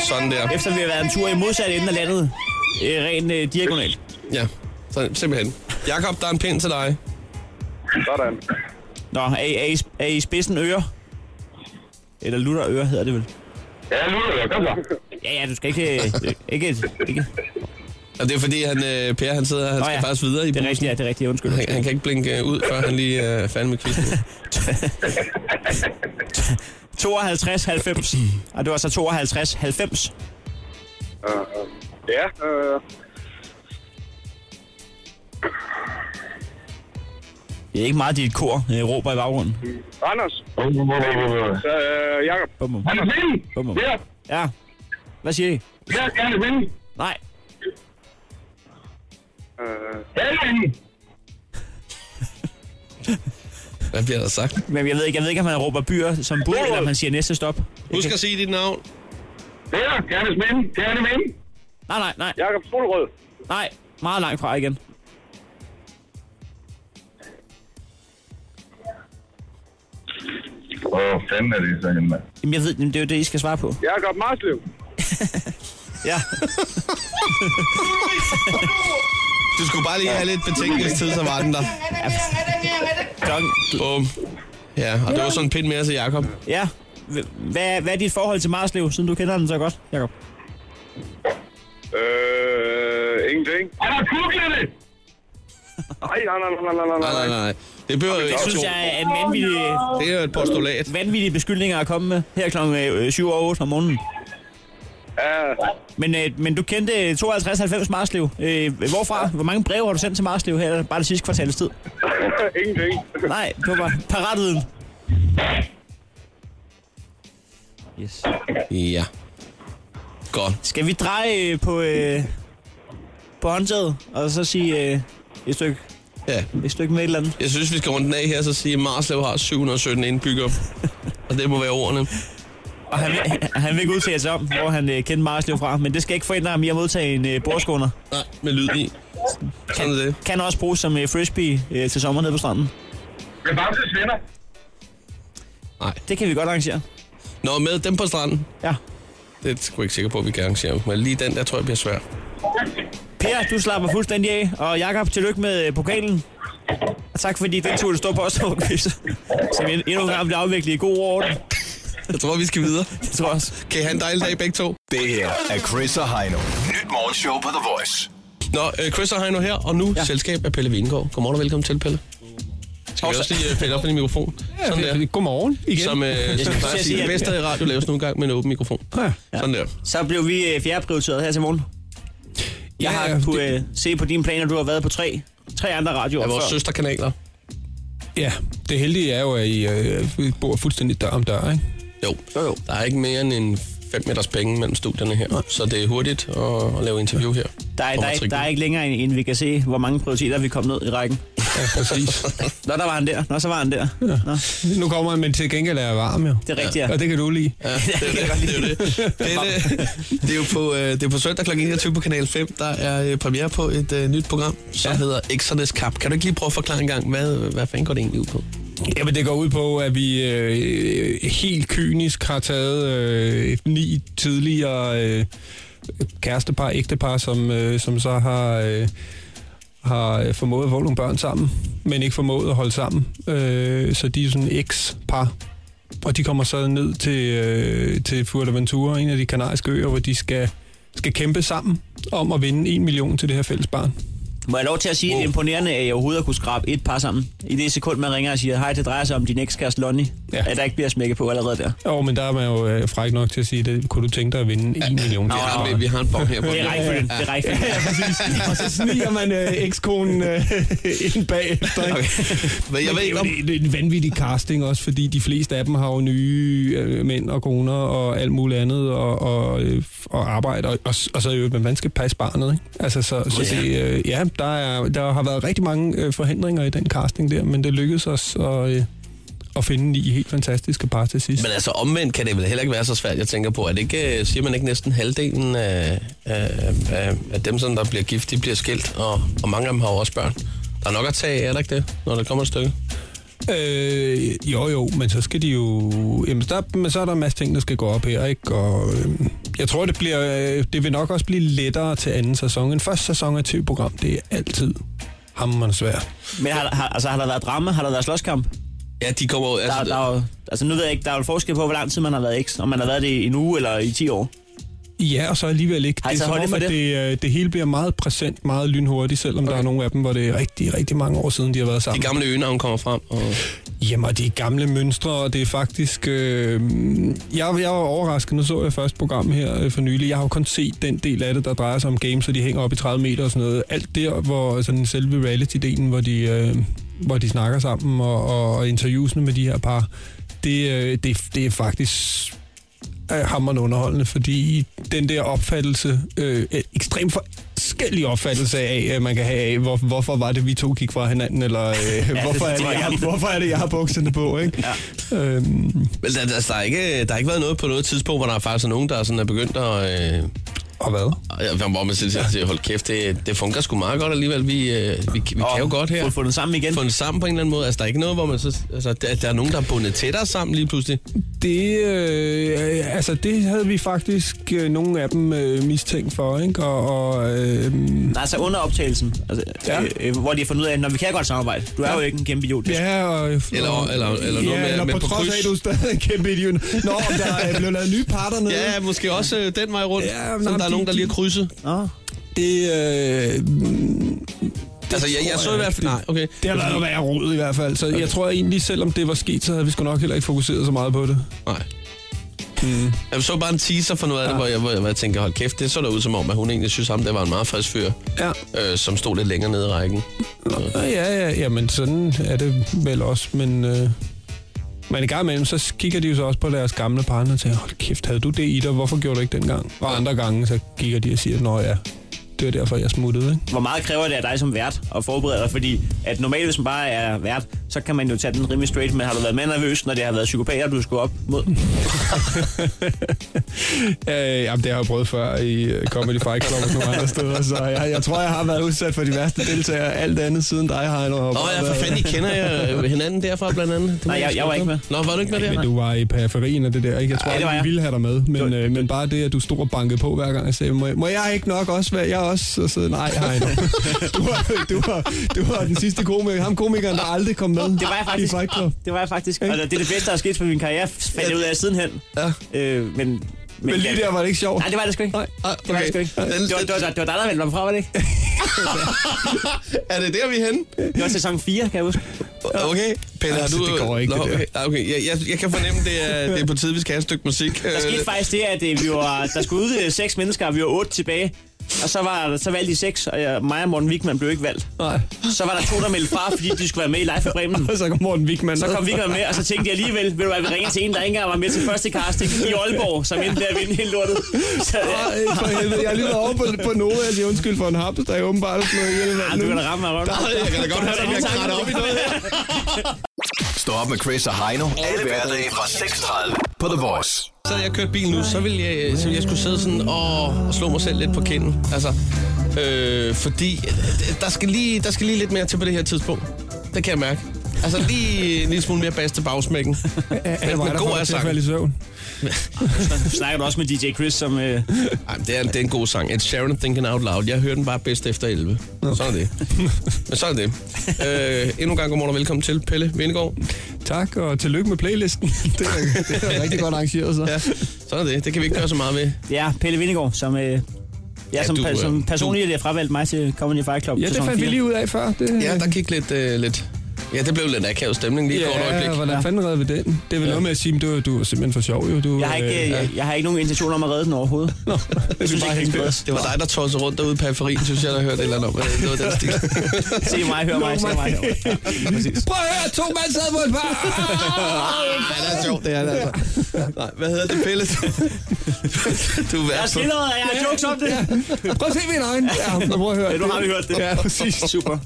Speaker 3: Sådan der.
Speaker 4: Efter vi har været en tur i modsat ende af landet. Øh, rent øh, diagonalt.
Speaker 3: Ja, så, simpelthen. Jakob, der er en pind til dig.
Speaker 7: Sådan.
Speaker 4: Nå, er I, er I, er I spidsen øre? Eller lutter øre hedder det vel?
Speaker 9: Ja, nu er det. Kom så.
Speaker 4: Ja, ja, du skal ikke... øh, ikke, ikke.
Speaker 3: Og det er fordi, han, øh, Per han sidder, han
Speaker 4: Nå
Speaker 3: skal
Speaker 4: ja,
Speaker 3: faktisk videre i
Speaker 4: Det er
Speaker 3: bussen.
Speaker 4: rigtigt, ja, det er rigtigt. Undskyld.
Speaker 3: Han, han kan ikke blinke øh, ud, før han lige øh, er færdig med kvisten.
Speaker 4: 52, 90. Og det var så 52, 90.
Speaker 7: Øh, øh, ja, øh,
Speaker 4: Det er ikke meget dit kor, øh, råber i baggrunden.
Speaker 7: Anders.
Speaker 9: Han
Speaker 7: Øh, Jakob.
Speaker 4: Bum, bum,
Speaker 9: er fin!
Speaker 4: bum, bum.
Speaker 9: Ja,
Speaker 4: Ja. Hvad siger I?
Speaker 9: ja, han er fin.
Speaker 4: Nej.
Speaker 7: Øh,
Speaker 9: Helsing.
Speaker 3: Hvad bliver der sagt?
Speaker 4: Men jeg ved ikke, jeg ved ikke om han råber byer som bud, eller om han siger næste stop.
Speaker 3: Husk at sige dit navn.
Speaker 9: Per, gerne smind. Gerne vind.
Speaker 4: Nej, nej, nej,
Speaker 7: Jakob Solrød.
Speaker 4: nej. Meget langt fra igen.
Speaker 9: Åh, fanden er det så henne, mand.
Speaker 4: Jamen, jeg ved, jamen, det er jo det, I skal svare på.
Speaker 7: Jakob Marslev.
Speaker 4: Ja.
Speaker 3: Du skulle bare lige have lidt betænkningstid, så var den der.
Speaker 4: Klokken.
Speaker 3: Bum. Ja, og det var sådan en pind mere til Jakob.
Speaker 4: Ja. H- Hvad, hvad er dit forhold til Marslev, siden du kender den så godt, Jakob?
Speaker 7: Øh, ingenting.
Speaker 9: Han har kuglet det!
Speaker 7: Nej, nej, nej, nej, nej, nej,
Speaker 3: Nej, nej, nej. Det behøver jo ikke
Speaker 4: Det synes
Speaker 3: to.
Speaker 4: jeg er en vanvittig,
Speaker 3: Det er jo et postulat.
Speaker 4: vanvittig beskyldning at komme med her klokken øh, 7 og 8 om morgenen.
Speaker 7: Ja,
Speaker 4: Men, øh, men du kendte 52-90 Marslev. Øh, hvorfra? Hvor mange breve har du sendt til Marslev her bare det sidste kvartals tid?
Speaker 7: ingenting.
Speaker 4: Nej, det var bare paratviden. Yes.
Speaker 3: Ja. Godt.
Speaker 4: Skal vi dreje øh, på, øh, på håndtaget, og så sige øh, et, stykke,
Speaker 3: Ja.
Speaker 4: et stykke med et eller andet?
Speaker 3: Jeg synes, vi skal runde den af her, så sige, at Marslev har 717 indbyggere. Og det må være ordene.
Speaker 4: Og han, vil- han vil ikke udtale sig om, hvor han øh, kendte Marslev fra, men det skal ikke forhindre ham i at modtage en øh, bordskåner.
Speaker 3: Nej, med lyd i. Sådan er det.
Speaker 4: Kan også bruges som øh, frisbee øh, til sommer nede på stranden.
Speaker 9: Det er Bamses venner.
Speaker 4: Det kan vi godt arrangere.
Speaker 3: Nå, med dem på stranden.
Speaker 4: Ja.
Speaker 3: Det er jeg sgu ikke sikker på, at vi kan arrangere. Men lige den der, tror jeg, bliver svær.
Speaker 4: Per, du slapper fuldstændig af, og Jakob, tillykke med øh, pokalen. Og tak fordi den tog det store postnummerquiz, som en- endnu en gang blev afviklet i god orden.
Speaker 3: Jeg tror, vi skal videre.
Speaker 4: Det tror jeg også.
Speaker 3: Kan I have en dejlig dag begge to?
Speaker 5: Det her er Chris og Heino. Nyt morgenshow på The Voice.
Speaker 3: Nå, øh, Chris og Heino her, og nu ja. selskab af Pelle Vingård. Godmorgen og velkommen til, Pelle. Skal vi også lige øh, pille op i din mikrofon? Sådan der.
Speaker 10: Godmorgen igen.
Speaker 3: Som, øh, som
Speaker 4: skulle til
Speaker 3: plejer at
Speaker 4: at sige,
Speaker 3: sige, det
Speaker 4: at-
Speaker 3: bedste i radio laves nogle gange med en åben mikrofon.
Speaker 10: Ja.
Speaker 3: Sådan der.
Speaker 4: Så blev vi øh, fjerdeprioriteret her til morgen. Jeg har ja, kunne øh, se på dine planer, du har været på tre, tre andre radioer
Speaker 3: Af vores
Speaker 4: før.
Speaker 3: søsterkanaler.
Speaker 10: Ja, det heldige er jo, at I øh, bor fuldstændig dør om dør, ikke?
Speaker 3: Jo.
Speaker 4: Jo, jo.
Speaker 3: Der er ikke mere end en 5 meters penge mellem studierne her, så det er hurtigt at, at lave interview her.
Speaker 4: Der er,
Speaker 3: på
Speaker 4: der, er,
Speaker 3: matriklen.
Speaker 4: der er ikke længere, end, end vi kan se, hvor mange prioriteter vi kom ned i rækken.
Speaker 10: Ja, præcis.
Speaker 4: Nå, der var han der. Nå, så var han der.
Speaker 10: Ja. Nu kommer han, men til gengæld er jeg varm, jo.
Speaker 4: Det er rigtigt, ja.
Speaker 10: Og det kan du lide.
Speaker 3: Ja, det er jo det. Det er, jo det. Det, er, øh, det er jo på, øh, det er på søndag kl. 21 på Kanal 5, der er øh, premiere på et øh, nyt program, som ja. hedder Exernes Cup. Kan du ikke lige prøve at forklare en gang, hvad, øh, hvad fanden går det egentlig ud på?
Speaker 10: Jamen, det går ud på, at vi øh, helt kynisk har taget øh, ni tidligere øh, kærestepar, ægtepar, som, øh, som så har... Øh, har øh, formået at få nogle børn sammen, men ikke formået at holde sammen. Øh, så de er sådan eks-par. Og de kommer så ned til, øh, til Fuerteventura, en af de kanariske øer, hvor de skal, skal kæmpe sammen om at vinde en million til det her fælles barn.
Speaker 4: Må jeg lov til at sige, wow. det er imponerende, at jeg overhovedet har kunne skrabe et par sammen. I det sekund, man ringer og siger, hej, det drejer sig om din ekskæreste Lonnie, ja. at der ikke bliver smækket på allerede der.
Speaker 10: Jo, men der er man jo øh, fræk nok til at sige, det, kunne du tænke dig at vinde en million?
Speaker 3: Vi har, vi, vi har en bong her på
Speaker 4: Det er rækkefølgen. Det er rækkefølgen.
Speaker 10: Og så sniger man øh, ekskonen øh, ind bagefter. Ikke? Okay.
Speaker 3: Men jeg ved ikke om...
Speaker 10: det, det er en vanvittig casting også, fordi de fleste af dem har jo nye øh, mænd og koner og alt muligt andet og, og, øh, og arbejde. Og, og, og så er jo, men man skal passe barnet, ikke? Altså, så, så det, øh, ja, der, er, der har været rigtig mange øh, forhindringer i den casting der, men det lykkedes os at, øh, at finde ni helt fantastiske par til sidst.
Speaker 3: Men altså omvendt kan det vel heller ikke være så svært, jeg tænker på. Er det ikke, øh, siger man ikke næsten halvdelen af, af, af, af dem, sådan, der bliver gift, de bliver skilt, og, og mange af dem har jo også børn. Der er nok at tage, af, er der ikke det, når der kommer et stykke?
Speaker 10: Øh, jo, jo, men så skal de jo... Jamen, der, men så er der en masse ting, der skal gå op her, ikke? Og, øh, jeg tror, det, bliver, øh, det vil nok også blive lettere til anden sæson. En første sæson af TV-program, det er altid hammerende svært.
Speaker 4: Men har, der- har, altså, har der været drama? Har der været slåskamp?
Speaker 3: Ja, de kommer jo...
Speaker 4: Der,
Speaker 3: Altså,
Speaker 4: der, er jo- altså, nu ved jeg ikke, der er jo forskel på, hvor lang tid man har været eks. Om man har været det i en uge eller i 10 år.
Speaker 10: Ja, og så alligevel ikke.
Speaker 4: Har I
Speaker 10: det er
Speaker 4: taget
Speaker 10: som
Speaker 4: højde
Speaker 10: om,
Speaker 4: for
Speaker 10: at det, øh, det hele bliver meget præsent, meget lynhurtigt, selvom okay. der er nogle af dem, hvor det er rigtig, rigtig mange år siden, de har været
Speaker 3: de
Speaker 10: sammen.
Speaker 3: gamle øgenavn kommer frem, og
Speaker 10: Jamen, og det er gamle mønstre, og det er faktisk... Øh, jeg, jeg var overrasket, nu så jeg første program her øh, for nylig. Jeg har jo kun set den del af det, der drejer sig om games, så de hænger op i 30 meter og sådan noget. Alt der, hvor sådan selve reality-delen, hvor de, øh, hvor de snakker sammen og, og, og interviewsene med de her par, det, øh, det, det er faktisk er hammerende underholdende, fordi den der opfattelse, øh, øh, ekstremt forskellig opfattelse af, øh, man kan have af, hvor, hvorfor var det, vi to gik fra hinanden, eller øh, ja, hvorfor, er det,
Speaker 4: tror
Speaker 10: jeg,
Speaker 4: jeg.
Speaker 10: har- hvorfor er det, jeg har bukserne på, ikke? Ja. Øhm,
Speaker 3: Men der, altså, der, der, er ikke, der har ikke været noget på noget tidspunkt, hvor der er faktisk er nogen, der er, sådan, er begyndt at... Øh,
Speaker 10: og hvad?
Speaker 3: og- hvor man siger, til- hold kæft, det, det fungerer sgu meget godt alligevel. Vi, øh, vi, vi kan jo godt her.
Speaker 4: Få fundet sammen igen.
Speaker 3: fundet sammen på en eller anden måde. Altså, der er ikke noget, hvor man så... Altså, der, der er nogen, der er bundet tættere sammen lige pludselig.
Speaker 10: Det, øh, altså, det havde vi faktisk øh, nogle af dem øh, mistænkt for, ikke? Og, og øh,
Speaker 4: Nej, altså under optagelsen. Altså,
Speaker 10: Ja.
Speaker 4: ja. øh, øh, hvor de har fundet ud af, når vi kan godt samarbejde. Du er jo ikke en kæmpe idiot. Det-
Speaker 10: Ja, og,
Speaker 3: Eller-
Speaker 10: og,
Speaker 3: eller- eller noget
Speaker 10: ja,
Speaker 3: med-
Speaker 10: eller
Speaker 3: med
Speaker 10: på,
Speaker 3: på
Speaker 10: trods
Speaker 3: kryds.
Speaker 10: af, at du er stadig en kæmpe idiot. Nå, om der er blevet lavet nye parter nede.
Speaker 3: Ja, måske også øh, den vej rundt.
Speaker 10: Ja,
Speaker 3: Ja,
Speaker 10: men
Speaker 3: så
Speaker 10: nej,
Speaker 3: der er
Speaker 10: de-
Speaker 3: nogen, der lige har krydset.
Speaker 4: Nå.
Speaker 10: Det, øh,
Speaker 3: Altså, jeg, jeg
Speaker 10: tror
Speaker 3: så i
Speaker 10: jeg
Speaker 3: hvert
Speaker 10: ikke.
Speaker 3: fald... Nej, okay.
Speaker 10: det har været noget værre rod i hvert fald. Så okay. jeg tror egentlig, selvom det var sket, så havde vi sgu nok heller ikke fokuseret så meget på det.
Speaker 3: Nej. Jeg så bare en teaser for noget af det, hvor, jeg, hvor, jeg, hvor jeg tænker, hold kæft, det så der ud som om, at hun egentlig synes, ham det var en meget frisk fyr,
Speaker 10: Ja.
Speaker 3: øh, som stod lidt længere nede i rækken.
Speaker 10: Nå, ja, ja, ja, men sådan er det vel også, men... Øh, men i gang imellem, så kigger de jo så også på deres gamle partner og tænker, hold kæft, havde du det i dig? Hvorfor gjorde du ikke dengang? Og andre gange, så kigger de og siger, nå ja, det var derfor, jeg smuttede, ikke?
Speaker 4: Hvor meget kræver det af dig som vært at forberede dig? Fordi at normalt, hvis man bare er vært, så kan man jo tage den rimelig straight. Men har du været mere nervøs, når det har været psykopater, du skulle op mod?
Speaker 10: Øh, jamen, det har jeg jo prøvet før i øh, Comedy Fight Club og nogle andre steder, så jeg, jeg tror, jeg har været udsat for de værste deltagere. Alt andet siden dig, Heino. har
Speaker 3: Nå
Speaker 10: bare
Speaker 3: ja, for
Speaker 10: været-
Speaker 3: fanden, I kender jeg hinanden derfra blandt andet. Det må
Speaker 4: Nej, jeg-
Speaker 3: sgu
Speaker 4: jeg var ikke med.
Speaker 3: Nå, var du ikke med der?
Speaker 10: Men du var i periferien af det der, ikke? Jeg tror,
Speaker 4: Ja, det var
Speaker 10: ja,
Speaker 4: jeg.
Speaker 10: vi ville have dig med, men, øh, men bare det, at du stod og bankede på hver gang, jeg sagde, må jeg, må jeg ikke nok også være, jeg også? Og så nej, Heino. du, var, du, var, du var den sidste komiker, ham komikeren, der aldrig kom med
Speaker 4: Det var jeg
Speaker 10: i
Speaker 4: faktisk.
Speaker 10: Fight Club.
Speaker 4: Det var jeg faktisk. Og Altså, det er det bedste, der er sket for min karriere, fandt jeg ud af sidenhen.
Speaker 10: Ja.
Speaker 4: Øh, men, men,
Speaker 10: Men lige der var det ikke sjovt.
Speaker 4: Nej, det var det sgu ikke.
Speaker 10: Nej,
Speaker 3: Ah,
Speaker 4: Det var det sgu
Speaker 3: okay.
Speaker 4: ikke. Det var, det, var, det var dig, der vendte mig fra, var det ikke?
Speaker 3: Er det der, vi er henne?
Speaker 4: Det var sæson 4, kan jeg huske.
Speaker 3: Okay, Pelle,
Speaker 10: Altså,
Speaker 3: har du...
Speaker 10: det går ikke,
Speaker 3: Nå,
Speaker 10: det der.
Speaker 3: okay. Ah, okay. Jeg, jeg, jeg kan fornemme, det er, det er på tide, vi skal have et stykke musik.
Speaker 4: Øh, Der skete faktisk det, at øh, vi var, der skulle ud øh, seks mennesker, og vi var otte tilbage. Og så, var, der- så valgte de seks, og jeg, mig og Morten Wigman blev ikke valgt.
Speaker 10: Nej.
Speaker 4: Så var der to, der meldte fra, fordi de skulle være med i Live for Bremen.
Speaker 10: Og så kom Morten Wigman
Speaker 4: Så
Speaker 10: med.
Speaker 4: kom Wigman med, og så tænkte jeg alligevel, ved du hvad, vi ringer til en, der ikke engang var med til første casting i Aalborg, som endte med at vinde hele lortet. Så,
Speaker 10: Ej, for helvede. Jeg har lige været over på, på Nova, jeg siger undskyld for en hamster, jeg åbenbart har slået ihjel.
Speaker 4: ah, du kan da ramme mig godt.
Speaker 5: Jeg kan da godt høre, der bliver krattet op i noget her. Stå op med Chris og Heino. Alle hverdage fra 6.30 på The Voice.
Speaker 3: Så havde jeg kørt bil nu, så ville jeg, øh, så ville jeg skulle sidde sådan og, og slå mig selv lidt på kinden. Altså, øh, fordi øh, der skal, lige, der skal lige lidt mere til på det her tidspunkt. Det kan jeg mærke. Altså lige en lille smule mere bas til bagsmækken.
Speaker 10: Er det mig,
Speaker 3: Men
Speaker 10: der
Speaker 3: god
Speaker 10: får dig
Speaker 3: er
Speaker 10: til at
Speaker 3: sangen.
Speaker 10: falde i søvn?
Speaker 4: Så snakker du også med DJ Chris, som... Øh,
Speaker 3: Ej, men det, er, det er en god sang. It's Sharon Thinking Out Loud. Jeg hører den bare bedst efter 11. Sådan er det. Men sådan er det. Øh, endnu en gang godmorgen og velkommen til, Pelle Vindegård.
Speaker 10: Tak, og tillykke med playlisten. det er, det er rigtig godt arrangeret, så.
Speaker 3: Ja, sådan er det. Det kan vi ikke gøre så meget ved.
Speaker 4: det er Pelle Vindegård, som... Øh, ja, som,
Speaker 3: du,
Speaker 4: ja,
Speaker 3: øh,
Speaker 4: du, som personligt har fravalgt mig til Comedy Fire Club.
Speaker 10: Ja, det
Speaker 4: sæson
Speaker 10: fandt vi
Speaker 4: fire.
Speaker 10: lige ud af før. Det,
Speaker 3: Ja, der gik lidt... Øh, lidt. Ja, det blev lidt akavet stemning lige et kort
Speaker 10: ja,
Speaker 3: øjeblik.
Speaker 10: hvordan fanden redder vi den? Det er vel noget med at sige, at du, du er simpelthen for sjov, jo. Du,
Speaker 4: Jeg har, ikke, øh, jeg, jeg har ikke nogen intention om at redde den overhovedet. Nå, jeg synes
Speaker 10: bare
Speaker 4: ikke, den
Speaker 10: hænge
Speaker 4: skal
Speaker 3: Det var dig, der tossede rundt derude i periferien, synes jeg, der hørte et eller andet om. øh, Noget af den stil.
Speaker 4: Se mig, hør mig, se mig. Ja, præcis.
Speaker 10: Prøv at høre, to mand sad på et par.
Speaker 3: Nej, det er sjovt, det er det altså. Nej, hvad hedder det, Pelle? Du er
Speaker 4: Jeg
Speaker 3: værd
Speaker 4: er
Speaker 3: på.
Speaker 4: skildret, og jeg har jokes om det.
Speaker 10: Prøv at se mine øjne. Ja, prøv at høre.
Speaker 4: Ja, nu har vi hørt det.
Speaker 10: Ja, præcis.
Speaker 4: Super.